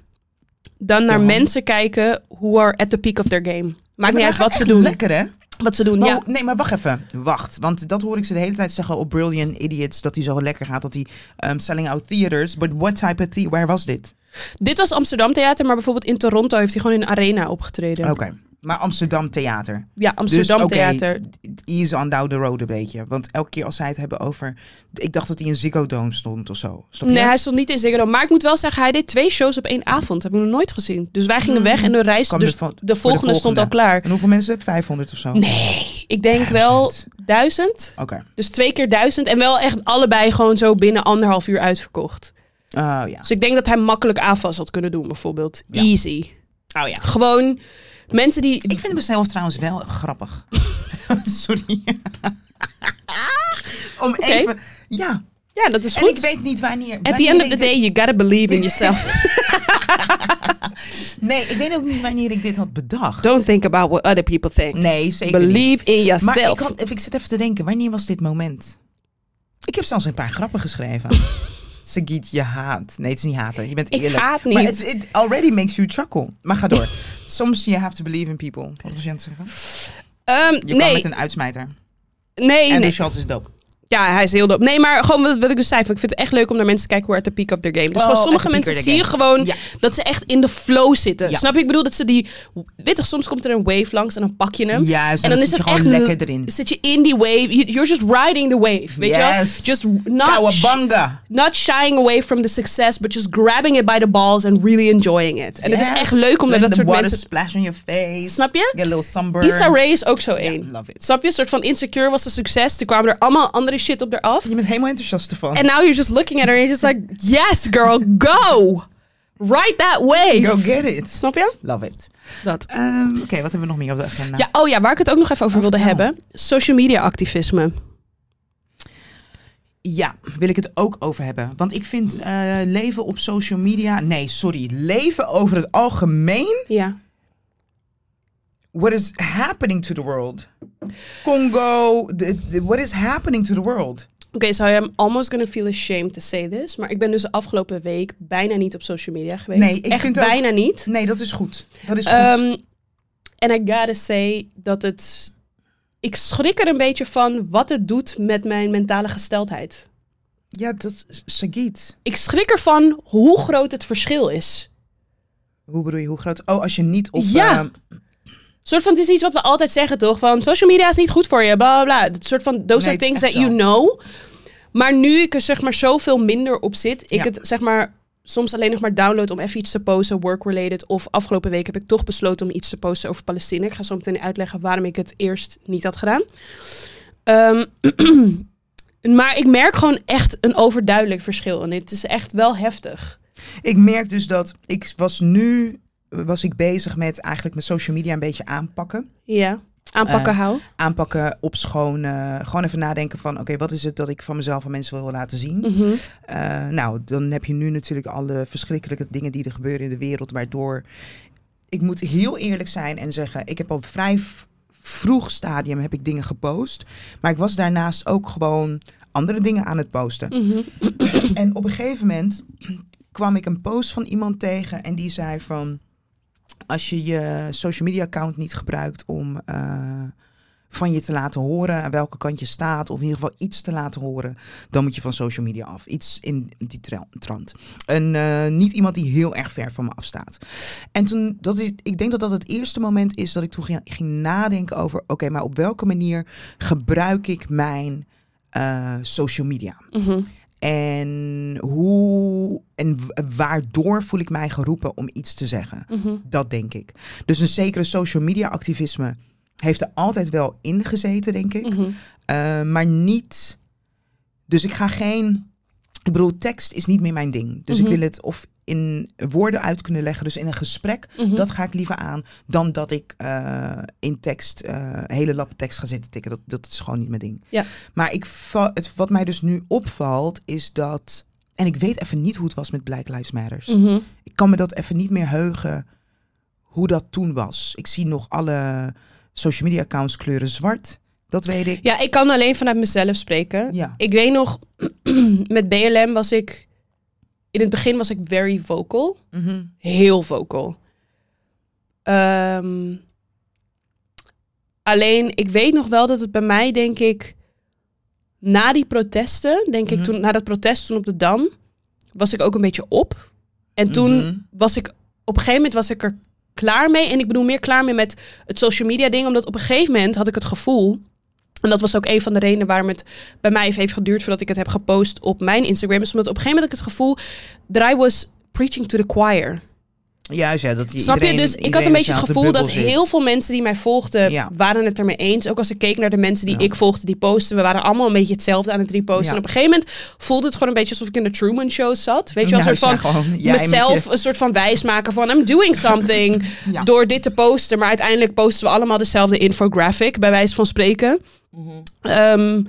Speaker 1: dan naar
Speaker 2: Ja.
Speaker 1: mensen kijken who are at the peak of their game. Maakt
Speaker 2: Maar
Speaker 1: niet uit
Speaker 2: dat
Speaker 1: wat
Speaker 2: gaat
Speaker 1: ze
Speaker 2: echt
Speaker 1: doen.
Speaker 2: Lekker hè?
Speaker 1: Wat ze doen,
Speaker 2: Maar
Speaker 1: ja.
Speaker 2: hoe- Nee, maar wacht even. Wacht. Want dat hoor ik ze de hele tijd zeggen op Brilliant Idiots. Dat hij zo lekker gaat. Dat hij ehm, selling out theaters. But what type of theater? Waar was dit?
Speaker 1: Dit was Amsterdam Theater, maar bijvoorbeeld in Toronto heeft hij gewoon in een arena opgetreden.
Speaker 2: Oké. Maar Amsterdam Theater.
Speaker 1: Ja, Amsterdam
Speaker 2: Dus, oké,
Speaker 1: Theater.
Speaker 2: Ease on down the road een beetje. Want elke keer als zij het hebben over... Ik dacht dat hij in Ziggo Dome stond of zo. Snap je?
Speaker 1: Nee, hij stond niet in Ziggo Dome. Maar ik moet wel zeggen, hij deed twee shows op één avond. Heb ik nog nooit gezien. Dus wij gingen weg en de reis,
Speaker 2: Hmm. Kwam
Speaker 1: dus
Speaker 2: er van-
Speaker 1: de,
Speaker 2: voor de
Speaker 1: volgende stond
Speaker 2: volgende. Oh.
Speaker 1: al klaar.
Speaker 2: En hoeveel mensen? 500 of zo?
Speaker 1: Nee, ik denk wel duizend.
Speaker 2: Oké.
Speaker 1: Dus twee keer duizend. En wel echt allebei gewoon zo binnen anderhalf uur uitverkocht.
Speaker 2: Oh ja.
Speaker 1: Dus ik denk dat hij makkelijk AFAS had kunnen doen, bijvoorbeeld.
Speaker 2: Ja.
Speaker 1: Easy.
Speaker 2: Oh ja.
Speaker 1: Gewoon mensen die...
Speaker 2: Ik vind mezelf trouwens wel grappig. Sorry. Om even... Ja.
Speaker 1: ja, dat is
Speaker 2: En ik
Speaker 1: goed.
Speaker 2: weet niet wanneer...
Speaker 1: At
Speaker 2: wanneer
Speaker 1: the end of
Speaker 2: ik
Speaker 1: the
Speaker 2: dit-
Speaker 1: day, you gotta believe in yourself.
Speaker 2: Nee, ik weet ook niet wanneer ik dit had bedacht.
Speaker 1: Don't think about what other people think.
Speaker 2: Nee, zeker niet.
Speaker 1: Believe in
Speaker 2: Maar ik,
Speaker 1: yourself.
Speaker 2: had, ik zit even te denken, wanneer was dit moment? Ik heb zelfs een paar grappen geschreven. Sagiet, je haat. Nee, het is niet haten. Je bent
Speaker 1: Ik
Speaker 2: eerlijk.
Speaker 1: haat
Speaker 2: Maar
Speaker 1: niet.
Speaker 2: het it already makes you chuckle. Maar ga door. Soms you have to believe in people. Wat was je aan het zeggen?
Speaker 1: Ehm,
Speaker 2: Je kwam
Speaker 1: nee,
Speaker 2: met een uitsmijter.
Speaker 1: nee,
Speaker 2: En
Speaker 1: nee.
Speaker 2: de shot is dope.
Speaker 1: Ja, hij is heel dope. Nee, maar gewoon wat, wat ik dus zei. van, Ik vind het echt leuk om naar mensen te kijken hoe uit de peak of their game. Dus
Speaker 2: Oh,
Speaker 1: gewoon sommige
Speaker 2: at the peak
Speaker 1: mensen
Speaker 2: of
Speaker 1: zie
Speaker 2: their
Speaker 1: je gewoon
Speaker 2: Ja.
Speaker 1: dat ze echt in de flow zitten.
Speaker 2: Ja.
Speaker 1: Snap je? Ik bedoel dat ze die... Weet toch, soms komt er een wave langs en dan pak je hem.
Speaker 2: Juist,
Speaker 1: en
Speaker 2: dan
Speaker 1: dan is
Speaker 2: zit
Speaker 1: het
Speaker 2: je
Speaker 1: echt...
Speaker 2: gewoon lekker erin.
Speaker 1: Zit je in die wave. You- You're just riding the wave. Weet je wel?
Speaker 2: Yes.
Speaker 1: Just not,
Speaker 2: Kawabanga.
Speaker 1: not shying away from the success, but just grabbing it by the balls and really enjoying it. En het is
Speaker 2: Yes.
Speaker 1: echt leuk om naar dat
Speaker 2: Let the
Speaker 1: soort
Speaker 2: water
Speaker 1: mensen...
Speaker 2: splash on your face.
Speaker 1: Snap je?
Speaker 2: Get a little sunburn.
Speaker 1: Issa Rae is ook zo één.
Speaker 2: love it.
Speaker 1: Snap je? Een soort van insecure was een succes. Toen kwamen er allemaal andere shit op haar af.
Speaker 2: Je bent helemaal enthousiast ervan.
Speaker 1: And now you're just looking at her and you're just like, yes, girl, go. Right that way.
Speaker 2: Go get it.
Speaker 1: Snap je?
Speaker 2: Love it.
Speaker 1: Dat.
Speaker 2: Ehm, Oké, wat hebben we nog meer op de agenda?
Speaker 1: Ja, oh ja, waar ik het ook nog even over
Speaker 2: Oh,
Speaker 1: wilde
Speaker 2: vertel.
Speaker 1: hebben. Social media activisme.
Speaker 2: Ja, wil ik het ook over hebben. Want ik vind eh, leven op social media... Nee, sorry. Leven over het algemeen...
Speaker 1: Ja.
Speaker 2: What is happening to the world? Congo... the- the- what is happening to the world?
Speaker 1: Oké, so I'm almost gonna feel ashamed to say this. Maar ik ben dus de afgelopen week bijna niet op social media geweest.
Speaker 2: Nee, ik
Speaker 1: Echt
Speaker 2: vind ook-
Speaker 1: bijna niet. Ehm,
Speaker 2: Nee, dat is goed. Dat is goed.
Speaker 1: En I gotta say dat het... Ik schrik er een beetje van wat het doet met mijn mentale gesteldheid.
Speaker 2: ja, dat is Sagiet.
Speaker 1: ik schrik ervan hoe groot het verschil is.
Speaker 2: Hoe bedoel je, hoe groot? Oh, als je niet op...
Speaker 1: Ja.
Speaker 2: ehm,
Speaker 1: Een soort van, het is iets wat we altijd zeggen, toch? Van social media is niet goed voor je, bla bla bla. Het soort van, those
Speaker 2: Nee,
Speaker 1: are
Speaker 2: het is
Speaker 1: things
Speaker 2: echt
Speaker 1: that you
Speaker 2: zo.
Speaker 1: know. Maar nu ik er zeg maar zoveel minder op zit, ik
Speaker 2: Ja.
Speaker 1: het zeg maar soms alleen nog maar download om even iets te posten, work-related. Of afgelopen week heb ik toch besloten om iets te posten over Palestina. Ik ga zo meteen uitleggen waarom ik het eerst niet had gedaan. Ehm, maar ik merk gewoon echt een overduidelijk verschil. En het is echt wel heftig.
Speaker 2: Ik merk dus dat ik was nu was ik bezig met eigenlijk met social media een beetje aanpakken.
Speaker 1: Ja, aanpakken
Speaker 2: Eh,
Speaker 1: hou.
Speaker 2: Aanpakken, opschonen. Gewoon even nadenken van oké, wat is het dat ik van mezelf aan mensen wil laten zien?
Speaker 1: Mhm.
Speaker 2: Eh, nou, dan heb je nu natuurlijk alle verschrikkelijke dingen die er gebeuren in de wereld. Waardoor ik moet heel eerlijk zijn en zeggen, ik heb op vrij v- vroeg stadium heb ik dingen gepost. Maar ik was daarnaast ook gewoon andere dingen aan het posten.
Speaker 1: Mhm.
Speaker 2: En op een gegeven moment kwam ik een post van iemand tegen en die zei van... Als je je social media account niet gebruikt om eh, van je te laten horen aan welke kant je staat, of in ieder geval iets te laten horen, dan moet je van social media af. Iets in die tra- trant. En eh, niet iemand die heel erg ver van me afstaat. En toen, dat is, ik denk dat dat het eerste moment is dat ik toen ging, ging nadenken over: oké, maar op welke manier gebruik ik mijn eh, social media?
Speaker 1: Mhm.
Speaker 2: En hoe en w- waardoor voel ik mij geroepen om iets te zeggen?
Speaker 1: Mhm.
Speaker 2: Dat denk ik. Dus een zekere social media activisme heeft er altijd wel in gezeten, denk ik.
Speaker 1: Mhm.
Speaker 2: Eh, maar niet. Dus ik ga geen. Ik bedoel, tekst is niet meer mijn ding. Dus
Speaker 1: Mhm.
Speaker 2: ik wil het of in woorden uit kunnen leggen. Dus in een gesprek,
Speaker 1: Mhm.
Speaker 2: dat ga ik liever aan. Dan dat ik eh, in tekst, eh, hele lappen tekst ga zitten tikken. Dat, dat is gewoon niet mijn ding.
Speaker 1: Ja.
Speaker 2: Maar ik, va- het, wat mij dus nu opvalt, is dat. En ik weet even niet hoe het was met Black Lives Matters.
Speaker 1: Mhm.
Speaker 2: Ik kan me dat even niet meer heugen hoe dat toen was. Ik zie nog alle social media accounts kleuren zwart. Dat weet ik.
Speaker 1: Ja, ik kan alleen vanuit mezelf spreken.
Speaker 2: Ja.
Speaker 1: Ik weet nog, met BLM was ik... In het begin was ik very vocal. Heel vocal. Ehm, alleen, ik weet nog wel dat het bij mij, denk ik... Na die protesten, denk
Speaker 2: Mhm.
Speaker 1: ik, toen, na dat protest toen op de Dam... was ik ook een beetje op. En toen
Speaker 2: Mhm.
Speaker 1: was ik op een gegeven moment was ik er klaar mee. En ik bedoel meer klaar mee met het social media ding. Omdat op een gegeven moment had ik het gevoel. En dat was ook een van de redenen waarom het bij mij even heeft geduurd voordat ik het heb gepost op mijn Instagram. Is omdat op een gegeven moment had ik het gevoel that I was preaching to the choir.
Speaker 2: Juist, ja. Dat
Speaker 1: Snap je?
Speaker 2: iedereen-
Speaker 1: Dus ik had
Speaker 2: iedereen
Speaker 1: een beetje het
Speaker 2: dezelfde
Speaker 1: gevoel dat
Speaker 2: bubbel zit.
Speaker 1: heel veel mensen die mij volgden,
Speaker 2: Ja.
Speaker 1: waren het ermee eens. Ook als ik keek naar de mensen die
Speaker 2: Ja.
Speaker 1: ik volgde, die posten. We waren allemaal een beetje hetzelfde aan het reposten.
Speaker 2: Ja.
Speaker 1: En op een gegeven moment voelde het gewoon een beetje alsof ik in de Truman Show zat. Weet je wel, een soort
Speaker 2: Juist, ja,
Speaker 1: van
Speaker 2: gewoon, jij met je-
Speaker 1: mezelf een soort van wijs maken van I'm doing something
Speaker 2: Ja.
Speaker 1: door dit te posten. Maar uiteindelijk posten we allemaal dezelfde infographic, bij wijze van spreken.
Speaker 2: Mhm.
Speaker 1: Ehm,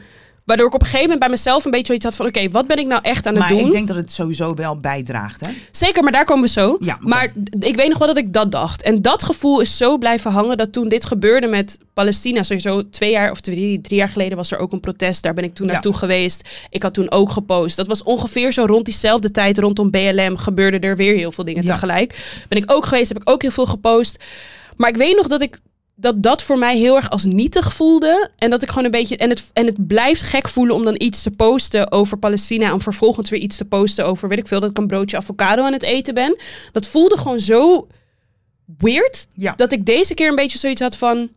Speaker 1: waardoor ik op een gegeven moment bij mezelf een beetje iets had van oké, wat ben ik nou echt aan het
Speaker 2: maar
Speaker 1: doen?
Speaker 2: ik denk dat het sowieso wel bijdraagt, hè?
Speaker 1: Zeker, maar daar komen we zo.
Speaker 2: Ja, oké.
Speaker 1: Maar d- ik weet nog wel dat ik dat dacht. En dat gevoel is zo blijven hangen dat toen dit gebeurde met Palestina, sowieso twee jaar of drie, drie jaar geleden was er ook een protest. Daar ben ik toen
Speaker 2: Ja.
Speaker 1: naartoe geweest. Ik had toen ook gepost. Dat was ongeveer zo rond diezelfde tijd, rondom BLM, gebeurde er weer heel veel dingen
Speaker 2: Ja.
Speaker 1: tegelijk. Ben ik ook geweest, heb ik ook heel veel gepost. Maar ik weet nog dat ik dat dat voor mij heel erg als nietig voelde. En dat ik gewoon een beetje. En het, en het blijft gek voelen om dan iets te posten over Palestina. Om vervolgens weer iets te posten over. Weet ik veel dat ik een broodje avocado aan het eten ben. Dat voelde gewoon zo weird.
Speaker 2: Ja.
Speaker 1: Dat ik deze keer een beetje zoiets had van.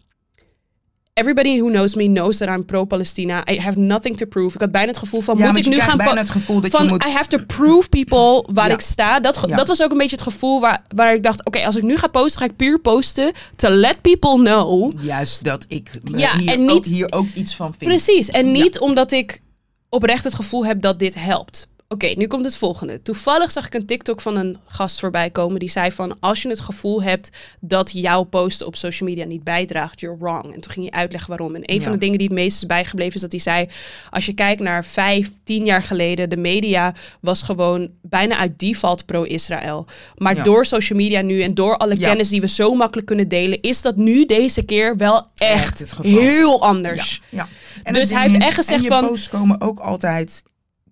Speaker 1: Everybody who knows me knows that I'm pro-Palestina. I have nothing to prove. Ik had bijna het gevoel van,
Speaker 2: ja,
Speaker 1: moet
Speaker 2: want
Speaker 1: ik
Speaker 2: je
Speaker 1: nu
Speaker 2: krijgt
Speaker 1: gaan... pa-
Speaker 2: bijna het gevoel dat
Speaker 1: van
Speaker 2: je moet...
Speaker 1: I have to prove people waar
Speaker 2: Ja.
Speaker 1: ik sta. Dat, ge-
Speaker 2: Ja.
Speaker 1: dat was ook een beetje het gevoel waar, waar ik dacht... Oké, als ik nu ga posten, ga ik puur posten to let people know.
Speaker 2: Juist dat ik eh,
Speaker 1: Ja,
Speaker 2: hier,
Speaker 1: en
Speaker 2: ook-
Speaker 1: niet-
Speaker 2: hier ook iets van vind.
Speaker 1: Precies. En niet omdat ik oprecht het gevoel heb dat dit helpt. Oké, nu komt het volgende. Toevallig zag ik een TikTok van een gast voorbij komen die zei van als je het gevoel hebt dat jouw posten op social media niet bijdraagt, you're wrong. En toen ging hij uitleggen waarom. En een
Speaker 2: Ja.
Speaker 1: van de dingen die het meest is bijgebleven is dat hij zei als je kijkt naar vijf, tien jaar geleden, de media was gewoon bijna uit default pro-Israël. Maar
Speaker 2: Ja.
Speaker 1: door social media nu en door alle
Speaker 2: Ja.
Speaker 1: kennis die we zo makkelijk kunnen delen, is dat nu deze keer wel
Speaker 2: Echt het
Speaker 1: echt
Speaker 2: geval.
Speaker 1: heel anders.
Speaker 2: Ja.
Speaker 1: Dus
Speaker 2: het ding
Speaker 1: hij heeft echt gezegd
Speaker 2: en
Speaker 1: van-
Speaker 2: je posts komen ook altijd...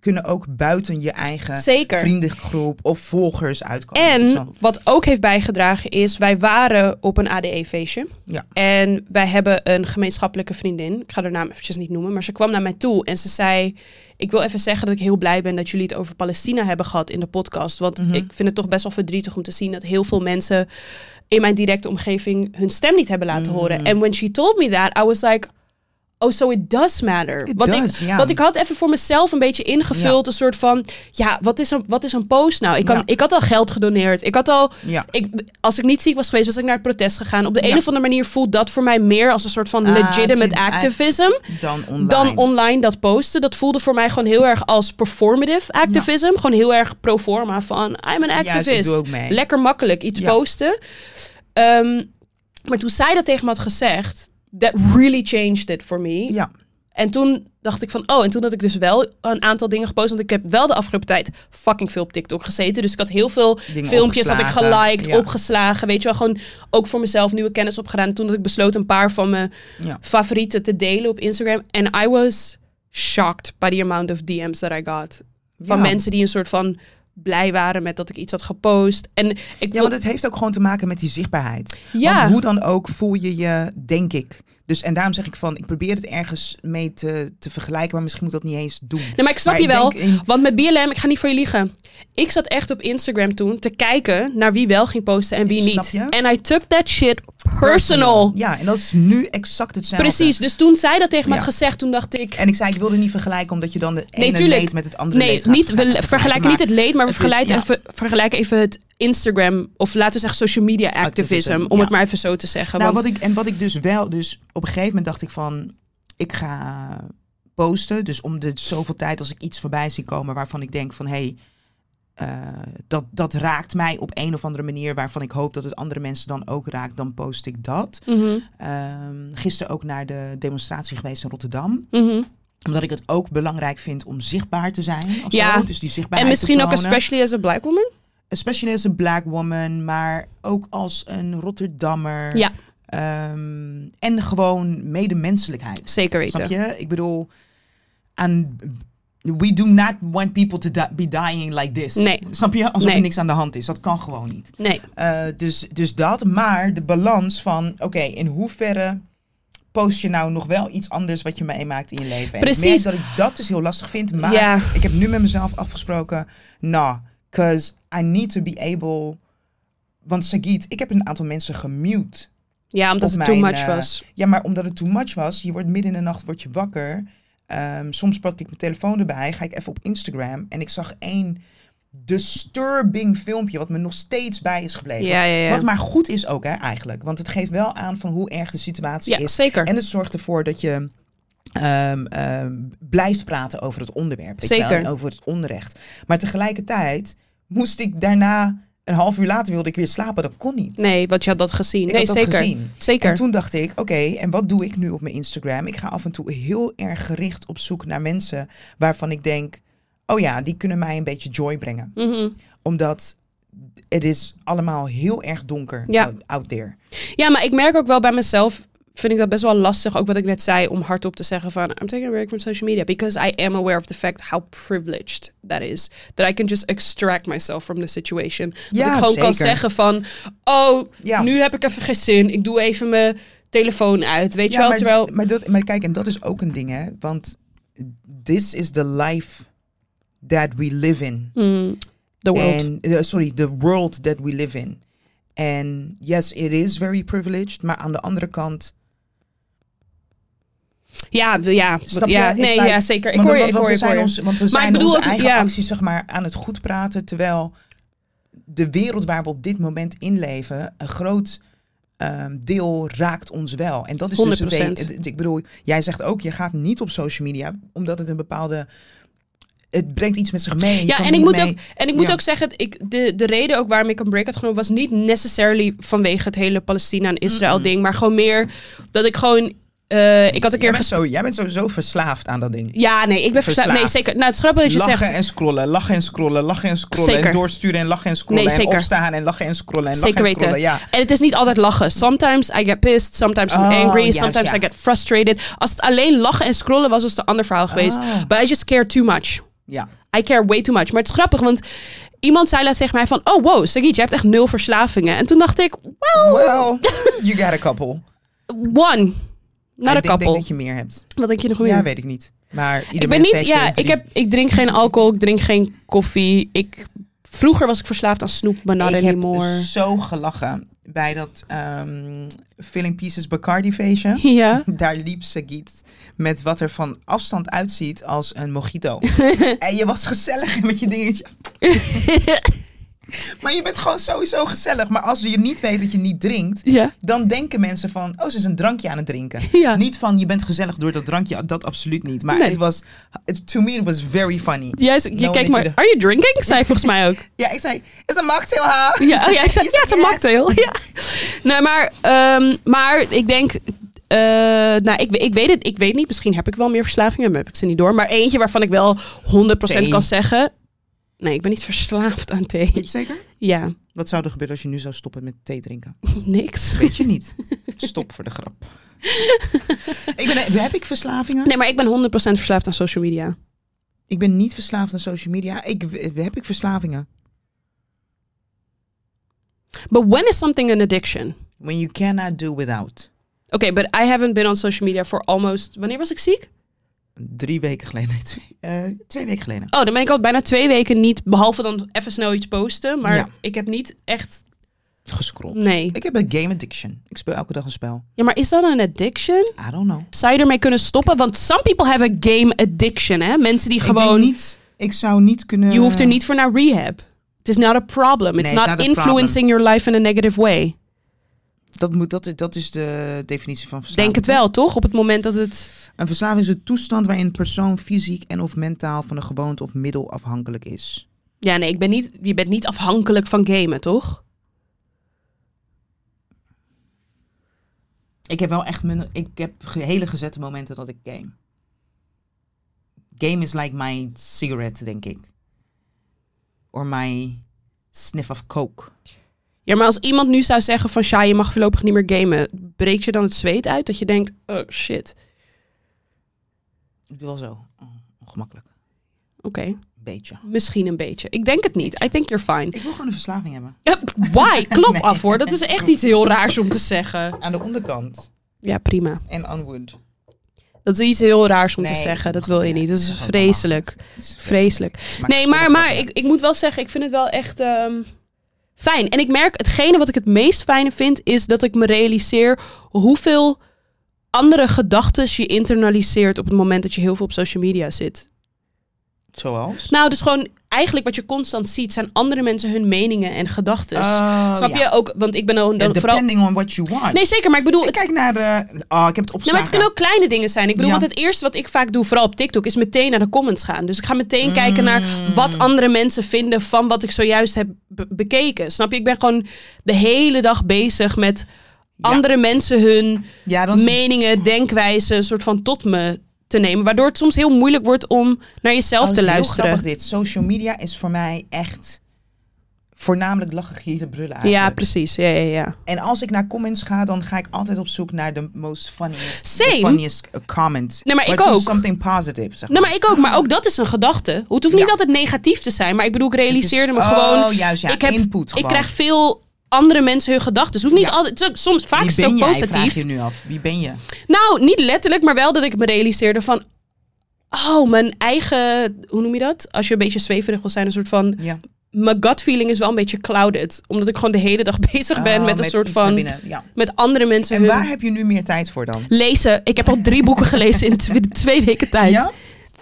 Speaker 2: Kunnen ook buiten je eigen
Speaker 1: Zeker.
Speaker 2: vriendengroep of volgers uitkomen. Dus
Speaker 1: En
Speaker 2: dan-
Speaker 1: wat ook heeft bijgedragen is, wij waren op een E ADE-feestje.
Speaker 2: Ja.
Speaker 1: En wij hebben een gemeenschappelijke vriendin. Ik ga haar naam eventjes niet noemen. Maar ze kwam naar mij toe en ze zei... Ik wil even zeggen dat ik heel blij ben dat jullie het over Palestina hebben gehad in de podcast. Want
Speaker 2: Mhm.
Speaker 1: ik vind het toch best wel verdrietig om te zien dat heel veel mensen in mijn directe omgeving hun stem niet hebben laten
Speaker 2: Mm.
Speaker 1: horen. En when she told me that, I was like... Oh, so it does matter.
Speaker 2: It
Speaker 1: Want
Speaker 2: does,
Speaker 1: ik,
Speaker 2: ja.
Speaker 1: want ik had even voor mezelf een beetje ingevuld. Een soort van, ja, wat is een, wat is een post nou? Ik, kan,
Speaker 2: Ja.
Speaker 1: ik had al geld gedoneerd. Ik had al,
Speaker 2: Ja.
Speaker 1: ik, als ik niet ziek was geweest, was ik naar het protest gegaan. Op de een
Speaker 2: Ja.
Speaker 1: of andere manier voelt dat voor mij meer als een soort van
Speaker 2: Ah,
Speaker 1: legitimate
Speaker 2: legit-
Speaker 1: activism.
Speaker 2: dan online.
Speaker 1: Dan online dat posten. Dat voelde voor mij gewoon heel erg als performative activism. Gewoon heel erg pro forma van I'm an
Speaker 2: ik
Speaker 1: activist.
Speaker 2: doe ook mee.
Speaker 1: Lekker makkelijk iets
Speaker 2: Ja.
Speaker 1: posten. Ehm, maar toen zij dat tegen me had gezegd, that really changed it for me.
Speaker 2: Ja.
Speaker 1: En toen dacht ik van, oh, en toen had ik dus wel een aantal dingen gepost. Want ik heb wel de afgelopen tijd fucking veel op TikTok gezeten. Dus ik had heel veel
Speaker 2: Dingen
Speaker 1: filmpjes had ik
Speaker 2: opgeslagen,
Speaker 1: geliked,
Speaker 2: ja.
Speaker 1: opgeslagen. Weet je wel, gewoon ook voor mezelf nieuwe kennis opgedaan. En toen had ik besloten een paar van mijn
Speaker 2: Ja.
Speaker 1: favorieten te delen op Instagram. En I was shocked by the amount of DM's that I got. Van
Speaker 2: Ja.
Speaker 1: mensen die een soort van blij waren met dat ik iets had gepost. En ik
Speaker 2: Ja,
Speaker 1: vond
Speaker 2: want het heeft ook gewoon te maken met die zichtbaarheid.
Speaker 1: Ja.
Speaker 2: Want hoe dan ook voel je je, denk ik. Dus en daarom zeg ik van, ik probeer het ergens mee te, te vergelijken, maar misschien moet dat niet eens doen.
Speaker 1: Nee, maar ik snap
Speaker 2: Maar
Speaker 1: je
Speaker 2: ik
Speaker 1: wel.
Speaker 2: denk in-
Speaker 1: Want met BLM, ik ga niet voor je liegen. Ik zat echt op Instagram toen te kijken naar wie wel ging posten en wie
Speaker 2: Snap
Speaker 1: niet.
Speaker 2: je?
Speaker 1: En I took that shit personal.
Speaker 2: Ja, en dat is nu exact hetzelfde.
Speaker 1: Precies, dus toen zij dat tegen me had
Speaker 2: Ja.
Speaker 1: gezegd, toen dacht ik...
Speaker 2: En ik zei, ik wilde niet vergelijken, omdat je dan de
Speaker 1: Nee,
Speaker 2: ene
Speaker 1: tuurlijk.
Speaker 2: leed met het andere
Speaker 1: Nee,
Speaker 2: leed gaat
Speaker 1: niet, we
Speaker 2: vergelijken,
Speaker 1: vergelijken
Speaker 2: maar-
Speaker 1: niet het leed, maar we
Speaker 2: het is-
Speaker 1: vergelijken,
Speaker 2: ja.
Speaker 1: even, vergelijken even het Instagram... of laten we zeggen social media activism,
Speaker 2: Activism,
Speaker 1: om
Speaker 2: ja.
Speaker 1: het maar even zo te zeggen.
Speaker 2: Nou,
Speaker 1: want
Speaker 2: wat ik, en wat ik dus wel, dus op een gegeven moment dacht ik van, ik ga posten. Dus om de zoveel tijd als ik iets voorbij zie komen waarvan ik denk van, hé, hey, eh, dat, dat raakt mij op een of andere manier waarvan ik hoop dat het andere mensen dan ook raakt, dan post ik dat.
Speaker 1: Mhm,
Speaker 2: Ehm, gisteren ook naar de demonstratie geweest in Rotterdam,
Speaker 1: mhm.
Speaker 2: omdat ik het ook belangrijk vind om zichtbaar te zijn. Of
Speaker 1: Ja.
Speaker 2: zo. Dus die zichtbaarheid
Speaker 1: En misschien
Speaker 2: te
Speaker 1: ook
Speaker 2: tonen.
Speaker 1: especially as a black woman.
Speaker 2: Especially as a black woman, maar ook als een Rotterdammer.
Speaker 1: Ja.
Speaker 2: Ehm, en gewoon medemenselijkheid.
Speaker 1: Zeker
Speaker 2: Snap
Speaker 1: weten.
Speaker 2: je? Ik bedoel, aan, we do not want people to di- be dying like this.
Speaker 1: Nee.
Speaker 2: Snap je? Alsof
Speaker 1: Nee.
Speaker 2: er niks aan de hand is. Dat kan gewoon niet.
Speaker 1: Nee,
Speaker 2: Eh, dus, dus dat, maar de balans van, oké, in hoeverre post je nou nog wel iets anders wat je meemaakt in je leven? En
Speaker 1: Precies.
Speaker 2: Ik merk dat ik dat dus heel lastig vind, maar
Speaker 1: Ja.
Speaker 2: ik heb nu met mezelf afgesproken, nou, cause I need to be able, want Sagit, ik heb een aantal mensen gemute.
Speaker 1: ja, omdat
Speaker 2: Op
Speaker 1: het too
Speaker 2: mijn,
Speaker 1: much
Speaker 2: eh,
Speaker 1: was.
Speaker 2: Ja, maar omdat het too much was, je wordt midden in de nacht word je wakker. Ehm, soms pak ik mijn telefoon erbij, ga ik even op Instagram en ik zag één disturbing filmpje wat me nog steeds bij is gebleven.
Speaker 1: Ja, ja, ja.
Speaker 2: Wat maar goed is ook hè, eigenlijk, want het geeft wel aan van hoe erg de situatie
Speaker 1: Ja,
Speaker 2: is.
Speaker 1: zeker.
Speaker 2: En het zorgt ervoor dat je ehm, ehm, blijft praten over het onderwerp. weet je wel,
Speaker 1: Zeker.
Speaker 2: en over het onrecht. Maar tegelijkertijd moest ik daarna, een half uur later wilde ik weer slapen, dat kon niet.
Speaker 1: Nee, want je had dat gezien.
Speaker 2: Ik
Speaker 1: nee,
Speaker 2: had dat
Speaker 1: zeker.
Speaker 2: gezien.
Speaker 1: Zeker.
Speaker 2: En toen dacht ik, oké, en wat doe ik nu op mijn Instagram? Ik ga af en toe heel erg gericht op zoek naar mensen waarvan ik denk, oh ja, die kunnen mij een beetje joy brengen.
Speaker 1: Mhm.
Speaker 2: Omdat het is allemaal heel erg donker
Speaker 1: Ja.
Speaker 2: out, out there.
Speaker 1: Ja, maar ik merk ook wel bij mezelf, vind ik dat best wel lastig, ook wat ik net zei, om hardop te zeggen van, I'm taking a break from social media, because I am aware of the fact how privileged that is. That I can just extract myself from the situation.
Speaker 2: Ja,
Speaker 1: dat ik gewoon kan
Speaker 2: zeker.
Speaker 1: zeggen van, oh,
Speaker 2: Ja.
Speaker 1: nu heb ik even geen zin, ik doe even mijn telefoon uit, weet je wel.
Speaker 2: maar,
Speaker 1: terwijl,
Speaker 2: maar, dat, maar kijk, en dat is ook een ding, hè? Want this is the life that we live in.
Speaker 1: Hmm, the world.
Speaker 2: And, eh, sorry, the world that we live in. En yes, it is very privileged, maar aan de andere kant.
Speaker 1: ja, w- ja, w-
Speaker 2: Snap je?
Speaker 1: ja,
Speaker 2: It's
Speaker 1: nee,
Speaker 2: like-
Speaker 1: ja, zeker. Ik
Speaker 2: want,
Speaker 1: hoor je,
Speaker 2: want-
Speaker 1: ik hoor je, ik hoor
Speaker 2: want we zijn,
Speaker 1: je.
Speaker 2: ons, want we
Speaker 1: ik
Speaker 2: zijn
Speaker 1: bedoel
Speaker 2: onze
Speaker 1: ook-
Speaker 2: eigen
Speaker 1: ja.
Speaker 2: acties zeg maar, aan het goed praten. Terwijl de wereld waar we op dit moment in leven, een groot ehm, deel raakt ons wel. En dat is dus het,
Speaker 1: 100%.
Speaker 2: ding. Het- het- Ik bedoel, jij zegt ook, je gaat niet op social media, omdat het een bepaalde. Het brengt iets met zich mee. je
Speaker 1: Ja,
Speaker 2: kan
Speaker 1: en ik
Speaker 2: niet
Speaker 1: moet
Speaker 2: mee-
Speaker 1: ook, en ik moet
Speaker 2: Ja.
Speaker 1: ook zeggen, ik, de, de reden ook waarom ik een break had genomen was niet necessarily vanwege het hele Palestina en Israël
Speaker 2: Mm-mm.
Speaker 1: ding, maar gewoon meer dat ik gewoon, eh, ik had een
Speaker 2: Jij
Speaker 1: keer
Speaker 2: bent,
Speaker 1: gesproken.
Speaker 2: zo, jij bent sowieso verslaafd aan dat ding.
Speaker 1: Ja, nee, ik ben verslaafd. Nee,
Speaker 2: Verslaafd.
Speaker 1: zeker. Nou, het is grappig dat je
Speaker 2: lachen
Speaker 1: zegt.
Speaker 2: en scrollen, lachen en scrollen, lachen en scrollen.
Speaker 1: Zeker.
Speaker 2: En doorsturen en lachen en scrollen.
Speaker 1: Nee, zeker.
Speaker 2: En opstaan en lachen en scrollen. En
Speaker 1: Zeker
Speaker 2: lachen en
Speaker 1: weten.
Speaker 2: scrollen. Ja.
Speaker 1: En het is niet altijd lachen. Sometimes I get pissed, sometimes I'm
Speaker 2: Oh,
Speaker 1: angry,
Speaker 2: juist,
Speaker 1: sometimes
Speaker 2: ja.
Speaker 1: I get frustrated. Als het alleen lachen en scrollen was, was het een ander verhaal geweest.
Speaker 2: Ah.
Speaker 1: But I just care too much.
Speaker 2: ja.
Speaker 1: I care way too much. Maar het is grappig, want iemand zei laatst tegen mij van... Oh, wow, Sagit, je hebt echt nul verslavingen. En toen dacht ik, well,
Speaker 2: Well, you got a couple.
Speaker 1: one. Not a
Speaker 2: ik denk- denk
Speaker 1: couple.
Speaker 2: dat je meer hebt.
Speaker 1: Wat denk je nog
Speaker 2: Ja,
Speaker 1: meer?
Speaker 2: weet ik niet. Maar ieder
Speaker 1: ik ben
Speaker 2: mens
Speaker 1: niet...
Speaker 2: heeft
Speaker 1: Ja,
Speaker 2: er drie.
Speaker 1: ik, heb, ik drink geen alcohol, ik drink geen koffie. Ik, vroeger was ik verslaafd aan snoep, maar not
Speaker 2: ik
Speaker 1: anymore.
Speaker 2: heb dus zo gelachen bij dat ehm Filling Pieces Bacardi feestje.
Speaker 1: Ja.
Speaker 2: Daar liep Sagit met wat er van afstand uitziet als een mojito. en je was gezellig met je dingetje. maar je bent gewoon sowieso gezellig. Maar als je niet weet dat je niet drinkt,
Speaker 1: ja.
Speaker 2: dan denken mensen van, oh, ze is een drankje aan het drinken.
Speaker 1: Ja.
Speaker 2: Niet van, je bent gezellig door dat drankje, Ah, dat absoluut niet. Maar
Speaker 1: Nee.
Speaker 2: het was, it- to me, it was very funny.
Speaker 1: Jij z- je
Speaker 2: Nou,
Speaker 1: kijkt
Speaker 2: weet
Speaker 1: maar,
Speaker 2: je de-
Speaker 1: are you drinking? Zei je volgens mij ook.
Speaker 2: Ja, ik zei, is een mocktail, ha?
Speaker 1: Ja, oh ja ik zei,
Speaker 2: Is
Speaker 1: ja,
Speaker 2: dat
Speaker 1: het is een
Speaker 2: yes?
Speaker 1: mocktail. Ja. Nee, maar, ehm, maar ik denk, eh, nou, ik, we- ik weet het ik weet niet. Misschien heb ik wel meer verslavingen, maar heb ik ze niet door. Maar eentje waarvan ik wel 100% kan
Speaker 2: Thee.
Speaker 1: zeggen, nee, ik ben niet verslaafd aan thee.
Speaker 2: Weet je zeker?
Speaker 1: Ja,
Speaker 2: Wat zou er gebeuren als je nu zou stoppen met thee drinken?
Speaker 1: niks.
Speaker 2: Weet je niet. Stop voor de grap. ik ben, eh, heb ik verslavingen?
Speaker 1: Nee, maar ik ben 100% verslaafd aan social media.
Speaker 2: Ik ben niet verslaafd aan social media. Ik, eh, heb ik verslavingen?
Speaker 1: But when is something an addiction?
Speaker 2: When you cannot do without.
Speaker 1: Oké, but I haven't been on social media for almost, wanneer was ik ziek?
Speaker 2: Drie weken geleden. Nee, twee, eh, twee weken geleden.
Speaker 1: Oh, dan ben ik al bijna twee weken niet, behalve dan even snel iets posten. Maar
Speaker 2: Ja.
Speaker 1: ik heb niet echt,
Speaker 2: Gescrolld.
Speaker 1: nee.
Speaker 2: Ik heb een game addiction. Ik speel elke dag een spel.
Speaker 1: Ja, maar is dat een addiction?
Speaker 2: I don't know.
Speaker 1: Zou je ermee kunnen stoppen? Want some people have a game addiction, hè? Mensen die
Speaker 2: Ik,
Speaker 1: gewoon...
Speaker 2: denk niet, ik zou niet kunnen...
Speaker 1: Je hoeft er niet voor naar rehab. It is not a problem. It's
Speaker 2: Nee, it's
Speaker 1: not
Speaker 2: not a
Speaker 1: influencing your life in a negative way.
Speaker 2: Dat, moet, dat, is- dat is de definitie van verslaving.
Speaker 1: Denk het wel, toch? Op het moment dat het...
Speaker 2: Een verslaving is een toestand waarin een persoon fysiek en of mentaal van een gewoonte of middel afhankelijk is.
Speaker 1: Ja, nee, ik ben niet... je bent niet afhankelijk van gamen, toch?
Speaker 2: Ik heb wel echt mijn, ik heb ge- hele gezette momenten dat ik game. Game is like my cigarette, denk ik. Or my sniff of coke.
Speaker 1: Ja, maar als iemand nu zou zeggen van... Sja, je mag voorlopig niet meer gamen. Breekt je dan het zweet uit? Dat je denkt, oh shit.
Speaker 2: Ik doe wel zo. Oh, ongemakkelijk.
Speaker 1: Oké,
Speaker 2: Beetje.
Speaker 1: misschien een beetje. Ik denk het niet. I think you're fine.
Speaker 2: Ik wil gewoon een verslaving hebben.
Speaker 1: Ja, Why? Klop
Speaker 2: Nee.
Speaker 1: af hoor. Dat is echt iets heel raars om te zeggen.
Speaker 2: Aan de onderkant.
Speaker 1: Ja, prima.
Speaker 2: En onwood.
Speaker 1: Dat is iets heel raars om te
Speaker 2: Nee,
Speaker 1: zeggen.
Speaker 2: dat
Speaker 1: Dat
Speaker 2: mag
Speaker 1: wil je
Speaker 2: niet.
Speaker 1: niet. Dat is
Speaker 2: Dat is ook
Speaker 1: vreselijk.
Speaker 2: Het is
Speaker 1: Vreselijk.
Speaker 2: Ik maak
Speaker 1: Nee, maar,
Speaker 2: stomme
Speaker 1: maar
Speaker 2: grappen.
Speaker 1: ik, ik moet wel zeggen, ik vind het wel echt ehm, fijn. En ik merk, hetgene wat ik het meest fijne vind, is dat ik me realiseer hoeveel andere gedachten je internaliseert op het moment dat je heel veel op social media zit.
Speaker 2: Zoals?
Speaker 1: Nou, dus gewoon eigenlijk wat je constant ziet, zijn andere mensen hun meningen en gedachten.
Speaker 2: Oh,
Speaker 1: Dus Snap
Speaker 2: ja.
Speaker 1: je ook? Want ik ben dan,
Speaker 2: Ja,
Speaker 1: dan vooral.
Speaker 2: depending on what you want.
Speaker 1: Nee, zeker, maar ik bedoel,
Speaker 2: Ik
Speaker 1: het,
Speaker 2: kijk naar de... Oh, ik heb het
Speaker 1: Nou,
Speaker 2: opgeslagen.
Speaker 1: maar het kunnen ook kleine dingen zijn. Ik bedoel,
Speaker 2: Ja.
Speaker 1: want het eerste wat ik vaak doe, vooral op TikTok, is meteen naar de comments gaan. Dus ik ga meteen kijken naar
Speaker 2: Mm.
Speaker 1: wat andere mensen vinden van wat ik zojuist heb be- bekeken. Snap je? Ik ben gewoon de hele dag bezig met andere mensen hun
Speaker 2: ja, dan is-
Speaker 1: meningen, denkwijzen, een soort van tot me te nemen. Waardoor het soms heel moeilijk wordt om naar jezelf
Speaker 2: Oh,
Speaker 1: te
Speaker 2: is heel
Speaker 1: luisteren.
Speaker 2: grappig dit. Social media is voor mij echt voornamelijk lachen, gieren, brullen
Speaker 1: Ja,
Speaker 2: eigenlijk.
Speaker 1: precies. Ja, ja, ja.
Speaker 2: en als ik naar comments ga, dan ga ik altijd op zoek naar de most funniest,
Speaker 1: Same.
Speaker 2: the funniest eh, comment.
Speaker 1: Nee, maar ik
Speaker 2: do
Speaker 1: ook.
Speaker 2: something positive, zeg
Speaker 1: Nou, maar ik ook. Maar ook dat is een gedachte. Het hoeft niet
Speaker 2: Ja.
Speaker 1: altijd negatief te zijn. Maar ik bedoel, ik
Speaker 2: Het is-
Speaker 1: realiseerde me
Speaker 2: oh,
Speaker 1: gewoon...
Speaker 2: juist, ja,
Speaker 1: ik heb,
Speaker 2: input
Speaker 1: Ik
Speaker 2: gewoon.
Speaker 1: krijg veel andere mensen hun gedachten. Dus het hoeft niet
Speaker 2: Ja.
Speaker 1: altijd. het is ook- Soms vaak
Speaker 2: Wie
Speaker 1: is het
Speaker 2: ben
Speaker 1: ook
Speaker 2: jij, vraag
Speaker 1: positief.
Speaker 2: je nu af. Wie ben je?
Speaker 1: Nou, niet letterlijk, maar wel dat ik me realiseerde van. Oh, mijn eigen. Hoe noem je dat? Als je een beetje zweverig wil zijn, een soort van.
Speaker 2: Ja.
Speaker 1: Mijn gut feeling is wel een beetje clouded. Omdat ik gewoon de hele dag bezig ben
Speaker 2: Ah,
Speaker 1: met een soort
Speaker 2: iets naar
Speaker 1: van.
Speaker 2: binnen, Ja.
Speaker 1: Met andere mensen
Speaker 2: En
Speaker 1: hun
Speaker 2: waar heb je nu meer tijd voor dan?
Speaker 1: lezen. Ik heb al drie boeken gelezen in tw- twee weken tijd.
Speaker 2: Ja?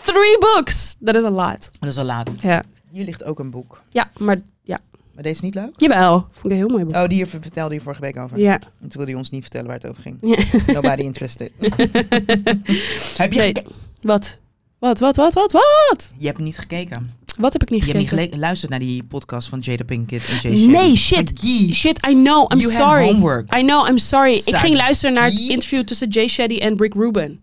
Speaker 1: Three books! Dat is a lot.
Speaker 2: Dat is al laat.
Speaker 1: Ja.
Speaker 2: Hier ligt ook een boek.
Speaker 1: ja, maar ja.
Speaker 2: Maar deze is niet leuk?
Speaker 1: Jawel. Vond ik een heel mooi boek.
Speaker 2: Oh, die hier vertelde je vorige week over.
Speaker 1: Ja.
Speaker 2: En toen wilde je ons niet vertellen waar het over ging.
Speaker 1: Ja.
Speaker 2: Nobody interested. heb je,
Speaker 1: Nee.
Speaker 2: geke-
Speaker 1: Wat? Wat, wat, wat, wat, wat?
Speaker 2: je hebt niet gekeken.
Speaker 1: Wat heb ik niet
Speaker 2: Je hebt niet
Speaker 1: gekregen?
Speaker 2: gele- geluisterd naar die podcast van Jada Pinkett en Jay Shetty.
Speaker 1: Nee, shit.
Speaker 2: Sagie.
Speaker 1: Shit, I know. I'm
Speaker 2: You had
Speaker 1: sorry.
Speaker 2: homework.
Speaker 1: I know, I'm sorry. Ik
Speaker 2: Sagiet.
Speaker 1: ging luisteren naar het interview tussen Jay Shetty en Rick Rubin.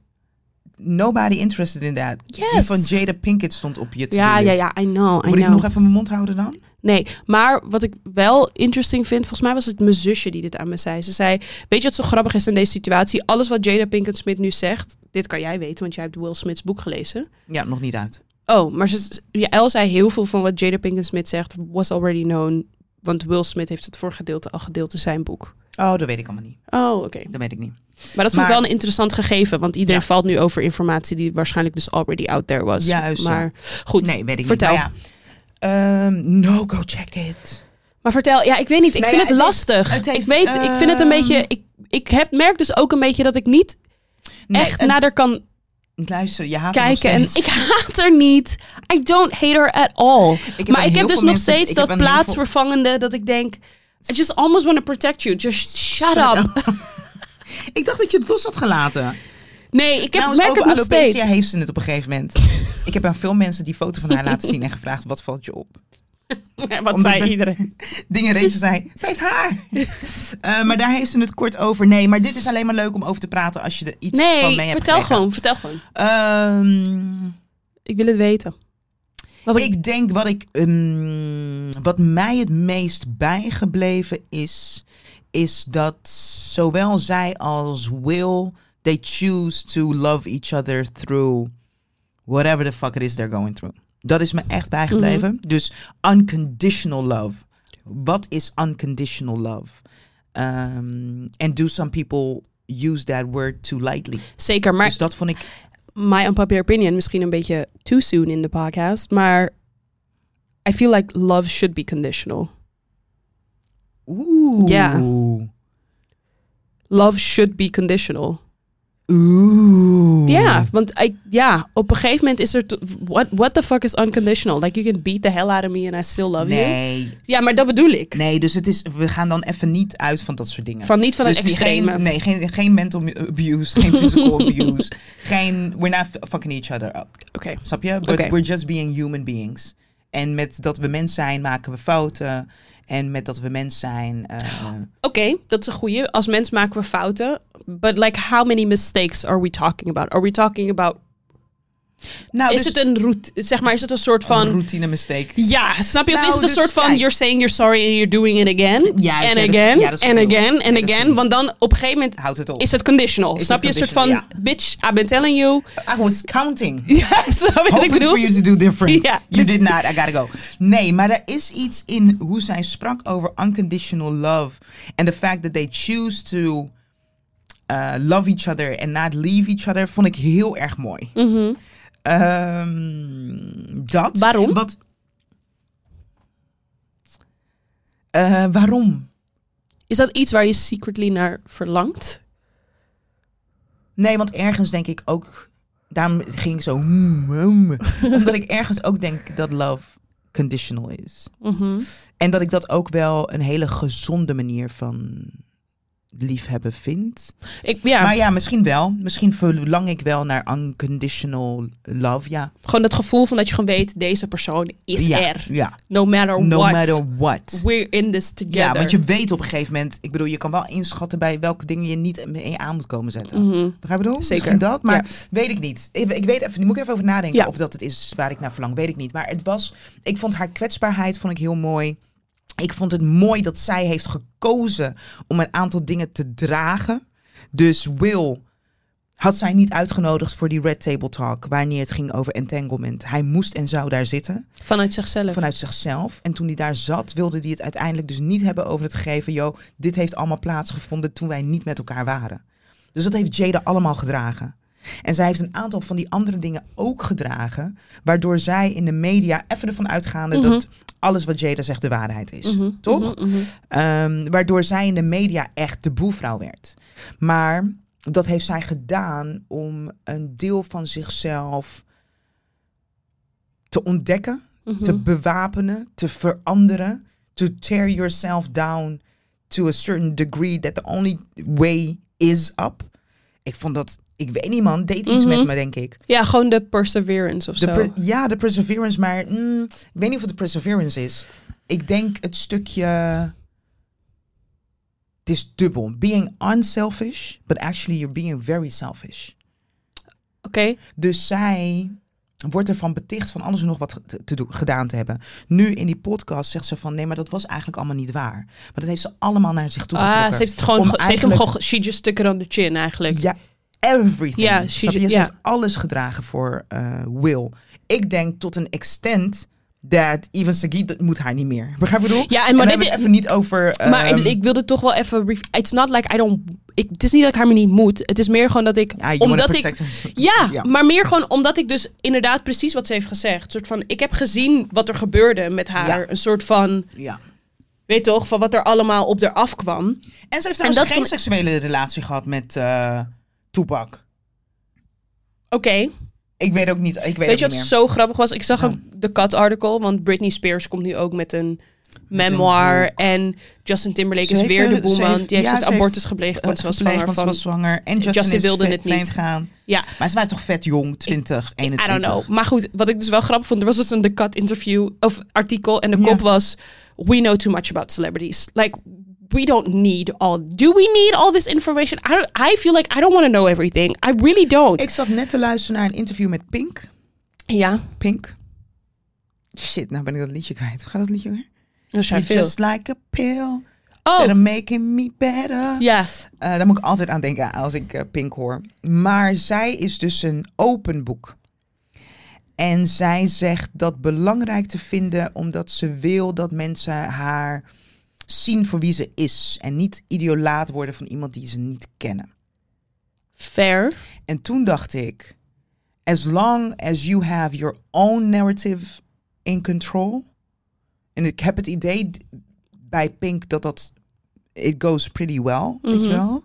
Speaker 2: Nobody interested in that. Die
Speaker 1: Yes.
Speaker 2: van Jada Pinkett stond op je
Speaker 1: Ja,
Speaker 2: to-do
Speaker 1: ja,
Speaker 2: list.
Speaker 1: ja, I know, I
Speaker 2: dus Moet ik
Speaker 1: know.
Speaker 2: nog even mijn mond houden dan?
Speaker 1: Nee, maar wat ik wel interesting vind, volgens mij was het mijn zusje die dit aan me zei. Ze zei, weet je wat zo grappig is in deze situatie? Alles wat Jada Pinkett Smith nu zegt, dit kan jij weten, want jij hebt Will Smith's boek gelezen.
Speaker 2: Ja, nog niet uit.
Speaker 1: Oh, maar ze, ja, El zei heel veel van wat Jada Pinkett Smith zegt, was already known. Want Will Smith heeft het voorgedeelte al gedeeld in zijn boek.
Speaker 2: Oh, dat weet ik allemaal niet.
Speaker 1: Oh, oké.
Speaker 2: Dat weet ik niet.
Speaker 1: Maar dat vond
Speaker 2: Maar-
Speaker 1: ik wel een interessant gegeven. Want iedereen
Speaker 2: Ja.
Speaker 1: valt nu over informatie die waarschijnlijk dus already out there was.
Speaker 2: Juist zo.
Speaker 1: Maar goed.
Speaker 2: Nee, weet ik
Speaker 1: vertel.
Speaker 2: niet. Maar ja. Ehm, no, go check it.
Speaker 1: Maar vertel, ja, ik weet niet. Ik
Speaker 2: Nou
Speaker 1: vind
Speaker 2: ja,
Speaker 1: het,
Speaker 2: het heeft-
Speaker 1: lastig.
Speaker 2: het heeft,
Speaker 1: ik weet, ik vind het een beetje...
Speaker 2: ehm,
Speaker 1: Ik, ik heb, merk dus ook een beetje dat ik niet
Speaker 2: Nee,
Speaker 1: echt
Speaker 2: en-
Speaker 1: nader kan
Speaker 2: Luister, je haat het nog
Speaker 1: kijken. En
Speaker 2: steeds.
Speaker 1: ik haat er niet. I don't hate her at all.
Speaker 2: heb aan
Speaker 1: maar ik
Speaker 2: heel
Speaker 1: heb dus
Speaker 2: veel
Speaker 1: nog
Speaker 2: mensen-
Speaker 1: steeds
Speaker 2: ik heb
Speaker 1: dat
Speaker 2: aan heel veel-
Speaker 1: plaatsvervangende dat ik denk... I just almost want to protect you. Just shut, up.
Speaker 2: ik dacht dat je het los had gelaten.
Speaker 1: Nee, ik heb,
Speaker 2: Trouwens,
Speaker 1: merk het
Speaker 2: Nou, over
Speaker 1: nog
Speaker 2: alopecia
Speaker 1: steeds.
Speaker 2: heeft ze het op een gegeven moment. ik heb aan veel mensen die foto van haar laten zien en gevraagd, wat valt je op?
Speaker 1: Wat
Speaker 2: Omdat
Speaker 1: zei
Speaker 2: de-
Speaker 1: iedereen?
Speaker 2: Dingen Rachel zei, ze heeft haar. Eh, maar daar heeft ze het kort over. Nee, maar dit is alleen maar leuk om over te praten als je er iets van mee
Speaker 1: Nee,
Speaker 2: hebt
Speaker 1: vertel
Speaker 2: gekregen.
Speaker 1: gewoon, vertel gewoon.
Speaker 2: Ehm,
Speaker 1: Ik wil het weten. Wat ik,
Speaker 2: ik denk wat ik ehm, wat mij het meest bijgebleven is, is dat zowel zij als Will they choose to love each other through whatever the fuck it is they're going through. Dat is me echt bijgebleven.
Speaker 1: Mhm.
Speaker 2: Dus unconditional love. Wat is unconditional love? Ehm, and do some people use that word too lightly?
Speaker 1: zeker, maar
Speaker 2: dus dat vond ik.
Speaker 1: my unpopular opinion, misschien een beetje too soon in de podcast, maar I feel like love should be conditional.
Speaker 2: Oeh.
Speaker 1: Ja. Love should be conditional.
Speaker 2: Oeh.
Speaker 1: Ja, want I, ja, op een gegeven moment is er... to- What, what the fuck is unconditional? Like, you can beat the hell out of me and I still love you.
Speaker 2: nee,
Speaker 1: Ja, maar dat bedoel ik.
Speaker 2: nee, dus het is, we gaan dan even niet uit van dat soort dingen.
Speaker 1: Van niet van
Speaker 2: dus
Speaker 1: het
Speaker 2: niet-
Speaker 1: extreme.
Speaker 2: Geen, nee, geen, geen mental mu- abuse, geen physical abuse. Geen, we're not f- fucking each other up.
Speaker 1: Oké,
Speaker 2: Snap je? But
Speaker 1: Oké.
Speaker 2: we're just being human beings. En met dat we mens zijn, maken we fouten. En met dat we mens zijn... eh,
Speaker 1: Oké, dat is een goeie. Als mens maken we fouten. But like, how many mistakes are we talking about? Are we talking about...
Speaker 2: nou,
Speaker 1: is
Speaker 2: dus
Speaker 1: het een route... Zeg maar, is het een soort van...
Speaker 2: een routine mistake.
Speaker 1: Ja, snap je? Of
Speaker 2: Nou,
Speaker 1: is het een
Speaker 2: dus
Speaker 1: soort van,
Speaker 2: kijk.
Speaker 1: you're saying you're sorry and you're doing it again.
Speaker 2: Ja,
Speaker 1: and
Speaker 2: ja, dat is-
Speaker 1: again,
Speaker 2: ja, dat is
Speaker 1: and
Speaker 2: goed.
Speaker 1: again,
Speaker 2: Ja,
Speaker 1: and
Speaker 2: dat is
Speaker 1: again.
Speaker 2: goed.
Speaker 1: Want dan op een gegeven moment
Speaker 2: Houdt het op.
Speaker 1: is het conditional.
Speaker 2: Is
Speaker 1: snap
Speaker 2: het
Speaker 1: je? Een soort van,
Speaker 2: conditional,
Speaker 1: bitch, I've been telling you.
Speaker 2: I was counting.
Speaker 1: Ja, snap je wat ik
Speaker 2: Hoping
Speaker 1: bedoel?
Speaker 2: for you to do different.
Speaker 1: Ja,
Speaker 2: you
Speaker 1: dus-
Speaker 2: did not, I gotta go. Nee, maar er is iets in hoe zij sprak over unconditional love. En the fact that they choose to uh, love each other and not leave each other, vond ik heel erg mooi. Ehm, dat.
Speaker 1: Mhm. Waarom?
Speaker 2: Wat, Eh, waarom?
Speaker 1: Is dat iets waar je secretly naar verlangt?
Speaker 2: Nee, want ergens denk ik ook. Daarom ging ik zo. hmm, hmm. omdat ik ergens ook denk dat love conditional is.
Speaker 1: Mhm.
Speaker 2: En dat ik dat ook wel een hele gezonde manier van liefhebben vind.
Speaker 1: ik, ja,
Speaker 2: Maar ja, misschien wel. Misschien verlang ik wel naar unconditional love. Ja,
Speaker 1: gewoon dat gevoel van dat je gewoon weet, deze persoon is
Speaker 2: ja,
Speaker 1: er.
Speaker 2: ja.
Speaker 1: No matter
Speaker 2: no
Speaker 1: what.
Speaker 2: matter what.
Speaker 1: We're in this together.
Speaker 2: Ja, want je weet op een gegeven moment, ik bedoel, je kan wel inschatten bij welke dingen je niet mee aan moet komen zetten.
Speaker 1: Mhm.
Speaker 2: Begrijp je bedoel?
Speaker 1: Zeker.
Speaker 2: Misschien dat, maar weet ik niet. Ik, ik weet even, moet ik even over nadenken
Speaker 1: Ja.
Speaker 2: of dat het is waar ik naar verlang, weet ik niet. Maar het was, ik vond haar kwetsbaarheid vond ik heel mooi. Ik vond het mooi dat zij heeft gekozen om een aantal dingen te dragen. Dus Will had zij niet uitgenodigd voor die Red Table Talk, wanneer het ging over entanglement. Hij moest en zou daar zitten,
Speaker 1: Vanuit zichzelf.
Speaker 2: vanuit zichzelf. En toen hij daar zat, wilde hij het uiteindelijk dus niet hebben over het gegeven, yo, dit heeft allemaal plaatsgevonden toen wij niet met elkaar waren. Dus dat heeft Jada allemaal gedragen. En zij heeft een aantal van die andere dingen ook gedragen, waardoor zij in de media even ervan uitgaande
Speaker 1: Mhm.
Speaker 2: dat alles wat Jada zegt de waarheid is.
Speaker 1: Mhm,
Speaker 2: toch?
Speaker 1: mhm, mhm.
Speaker 2: Ehm, waardoor zij in de media echt de boevrouw werd. Maar dat heeft zij gedaan om een deel van zichzelf te ontdekken,
Speaker 1: Mhm.
Speaker 2: te bewapenen, te veranderen. To tear yourself down to a certain degree that the only way is up. Ik vond dat, ik weet niet man, deed iets
Speaker 1: Mhm.
Speaker 2: met me denk ik.
Speaker 1: Ja, gewoon de perseverance of
Speaker 2: De
Speaker 1: zo.
Speaker 2: pre- ja, de perseverance, maar mm, ik weet niet of het de perseverance is. Ik denk het stukje. Het is dubbel. Being unselfish, but actually you're being very selfish.
Speaker 1: Oké.
Speaker 2: Dus zij wordt ervan beticht van alles en nog wat ge- te, te doen- gedaan te hebben. Nu in die podcast zegt ze van nee, maar dat was eigenlijk allemaal niet waar. Maar dat heeft ze allemaal naar zich toe getrokken.
Speaker 1: Ah, ze heeft het gewoon,
Speaker 2: Om
Speaker 1: ge- ze heeft hem
Speaker 2: eigenlijk-
Speaker 1: gewoon, ge- she just took it on the chin eigenlijk.
Speaker 2: Ja, everything.
Speaker 1: Ja,
Speaker 2: Ja,
Speaker 1: she
Speaker 2: she,
Speaker 1: ju- ja.
Speaker 2: heeft alles gedragen voor eh, Will. Ik denk tot een extent dat Even Sagi, dat moet haar niet meer. Begrijp je wat ik bedoel?
Speaker 1: Ja, en
Speaker 2: En
Speaker 1: maar
Speaker 2: dan hebben
Speaker 1: dit,
Speaker 2: we het even niet over...
Speaker 1: maar
Speaker 2: ehm,
Speaker 1: ik, ik wilde toch wel even... brief- It's not like I don't... Ik, het is niet dat ik haar me niet moet. Het is meer gewoon dat ik...
Speaker 2: ja, you wanna
Speaker 1: omdat ik
Speaker 2: protect her.
Speaker 1: Ja,
Speaker 2: Ja.
Speaker 1: maar meer gewoon omdat ik dus inderdaad precies wat ze heeft gezegd. Soort van, ik heb gezien wat er gebeurde met haar.
Speaker 2: Ja.
Speaker 1: Een soort van,
Speaker 2: Ja.
Speaker 1: weet toch, van wat er allemaal op haar afkwam.
Speaker 2: En ze heeft trouwens
Speaker 1: dat
Speaker 2: geen
Speaker 1: vond-
Speaker 2: seksuele relatie gehad met eh Tupac.
Speaker 1: Oké,
Speaker 2: Ik weet ook niet, ik weet,
Speaker 1: weet je
Speaker 2: ook
Speaker 1: wat
Speaker 2: niet meer.
Speaker 1: zo grappig was? Ik zag
Speaker 2: Ja.
Speaker 1: ook de cut article, want Britney Spears komt nu ook met een
Speaker 2: een
Speaker 1: memoir.
Speaker 2: boek.
Speaker 1: en Justin Timberlake
Speaker 2: Ze
Speaker 1: is
Speaker 2: heeft
Speaker 1: weer de
Speaker 2: een- ze
Speaker 1: boeman.
Speaker 2: heeft-
Speaker 1: Die heeft
Speaker 2: ja,
Speaker 1: het
Speaker 2: ze heeft, eh,
Speaker 1: abortus gepleegd, want ze was
Speaker 2: Gepleegd,
Speaker 1: zwanger
Speaker 2: want ze
Speaker 1: van...
Speaker 2: was zwanger. En Justin,
Speaker 1: Justin
Speaker 2: is
Speaker 1: wilde
Speaker 2: vre-
Speaker 1: het niet.
Speaker 2: vreemd gaan.
Speaker 1: Ja.
Speaker 2: Maar ze waren toch vet jong, 20, 21.
Speaker 1: I don't know. Maar goed, wat ik dus wel grappig vond, er was dus een The Cut interview of artikel en de
Speaker 2: Ja.
Speaker 1: kop was We know too much about celebrities. Like we don't need all. Do we need all this information? I don't, I feel like I don't want to know everything. I really don't.
Speaker 2: Ik zat net te luisteren naar een interview met Pink.
Speaker 1: ja,
Speaker 2: Pink. Shit, nou ben ik dat liedje kwijt. Hoe gaat dat liedje weer?
Speaker 1: er zijn
Speaker 2: It's
Speaker 1: veel.
Speaker 2: Just like a pill.
Speaker 1: Oh,
Speaker 2: Instead of making me better.
Speaker 1: ja.
Speaker 2: Eh, daar moet ik altijd aan denken als ik eh, Pink hoor. Maar zij is dus een open boek. En zij zegt dat belangrijk te vinden omdat ze wil dat mensen haar zien voor wie ze is. En niet ideolaat worden van iemand die ze niet kennen.
Speaker 1: Fair.
Speaker 2: En toen dacht ik, as long as you have your own narrative in control. En ik heb het idee d- bij Pink dat dat, it goes pretty well, weet je
Speaker 1: Mhm.
Speaker 2: wel.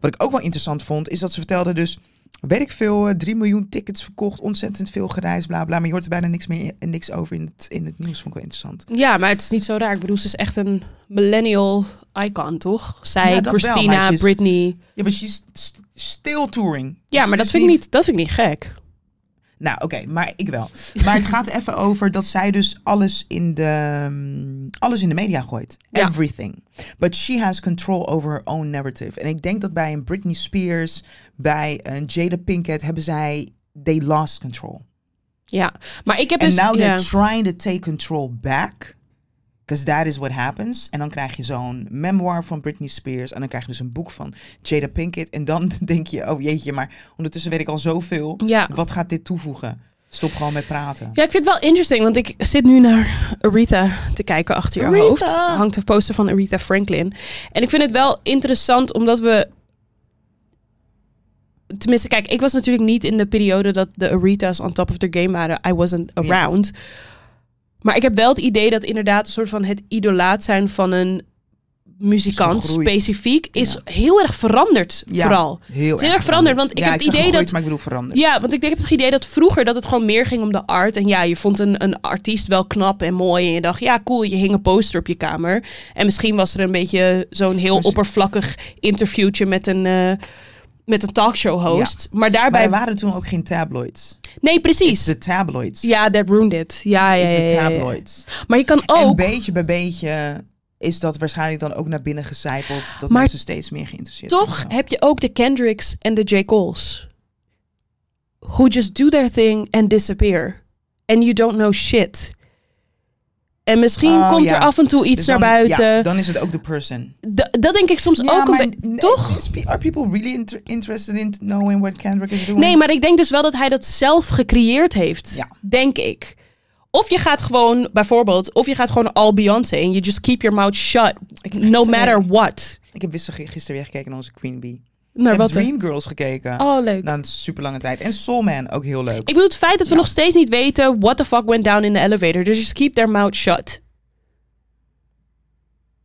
Speaker 2: Wat ik ook wel interessant vond, is dat ze vertelde dus, weet ik veel, eh, 3 miljoen tickets verkocht, ontzettend veel gereisd, bla bla. Maar je hoort er bijna niks meer in, niks over in het, in het nieuws, vond ik wel interessant.
Speaker 1: Ja, maar het is niet zo raar. Ik bedoel, ze is echt een millennial icon, toch? Zij,
Speaker 2: Ja, dat wel, maar
Speaker 1: Christina,
Speaker 2: ze is-
Speaker 1: Britney.
Speaker 2: Ja, maar she's st- still touring. Dus
Speaker 1: Ja,
Speaker 2: het
Speaker 1: maar dat
Speaker 2: is
Speaker 1: vind, ik niet, dat vind ik niet gek.
Speaker 2: Nou, oké, maar ik wel. Maar het gaat even over dat zij dus alles in de, mm, alles in de media gooit.
Speaker 1: Ja.
Speaker 2: Everything. But she has control over her own narrative. En ik denk dat bij een Britney Spears, bij een Jada Pinkett hebben zij, they lost control.
Speaker 1: Ja, maar ik heb
Speaker 2: And
Speaker 1: dus...
Speaker 2: now
Speaker 1: ja.
Speaker 2: they're trying to take control back. Because that is what happens. En dan krijg je zo'n memoir van Britney Spears. En dan krijg je dus een boek van Jada Pinkett. En dan denk je, oh jeetje, maar ondertussen weet ik al zoveel.
Speaker 1: ja.
Speaker 2: Wat gaat dit toevoegen? Stop gewoon met praten.
Speaker 1: Ja, ik vind het wel interesting, want ik zit nu naar Aretha te kijken achter je
Speaker 2: Aretha!
Speaker 1: hoofd. Hangt een poster van Aretha Franklin. En ik vind het wel interessant omdat we. Tenminste, kijk, ik was natuurlijk niet in de periode dat de Aretha's on top of their game waren. I wasn't
Speaker 2: Ja.
Speaker 1: around. Maar ik heb wel het idee dat inderdaad een soort van het idolaat zijn van een muzikant
Speaker 2: Zo groeit.
Speaker 1: specifiek is heel erg veranderd.
Speaker 2: Ja.
Speaker 1: Vooral.
Speaker 2: Heel
Speaker 1: is heel erg veranderd, want ik
Speaker 2: Ja,
Speaker 1: heb het
Speaker 2: zeg
Speaker 1: idee
Speaker 2: gegroeid,
Speaker 1: dat-
Speaker 2: maar ik bedoel veranderd.
Speaker 1: Ja, want ik denk ik heb het idee dat vroeger dat het gewoon meer ging om de art. En ja, je vond een, een artiest wel knap en mooi. En je dacht, ja, cool, je hing een poster op je kamer. En misschien was er een beetje zo'n heel
Speaker 2: Precies.
Speaker 1: oppervlakkig interviewtje met een, eh, met een talkshow host. Maar
Speaker 2: Maar
Speaker 1: daarbij.
Speaker 2: er waren toen ook geen tabloids.
Speaker 1: nee,
Speaker 2: It's
Speaker 1: precies.
Speaker 2: the tabloids.
Speaker 1: Ja, that ruined it. Ja, ja,
Speaker 2: It's
Speaker 1: ja,
Speaker 2: the
Speaker 1: ja, ja.
Speaker 2: tabloids.
Speaker 1: Maar je kan
Speaker 2: En
Speaker 1: ook.
Speaker 2: beetje bij beetje is dat waarschijnlijk dan ook naar binnen gecijpeld. Dat
Speaker 1: Maar
Speaker 2: mensen steeds meer geïnteresseerd
Speaker 1: Toch heb je ook de Kendricks en de J. Cole's. Who just do their thing and disappear. And you don't know shit. En misschien
Speaker 2: Oh,
Speaker 1: komt
Speaker 2: ja.
Speaker 1: er af en toe iets
Speaker 2: Dus
Speaker 1: naar
Speaker 2: dan-
Speaker 1: buiten.
Speaker 2: Ja, dan is het ook de person.
Speaker 1: D- dat denk ik soms ook een beetje.
Speaker 2: n-
Speaker 1: toch?
Speaker 2: is pe- are people really inter- interested in knowing what Kendrick is doing?
Speaker 1: Nee, maar ik denk dus wel dat hij dat zelf gecreëerd heeft.
Speaker 2: Ja.
Speaker 1: Denk ik. Of je gaat gewoon, bijvoorbeeld, of je gaat gewoon all Beyoncé en you just keep your mouth shut.
Speaker 2: Ik heb
Speaker 1: No
Speaker 2: gisteren-
Speaker 1: matter what.
Speaker 2: Ik heb gisteren, gisteren weer gekeken naar onze Queen Bee. Ik
Speaker 1: Naar
Speaker 2: heb
Speaker 1: wat dan?
Speaker 2: Dream Girls gekeken.
Speaker 1: Oh, leuk.
Speaker 2: Na een super lange tijd. En Soul Man, ook heel leuk.
Speaker 1: Ik bedoel, het feit dat we nog steeds niet weten what the fuck went down in the elevator. Dus just keep their mouth shut.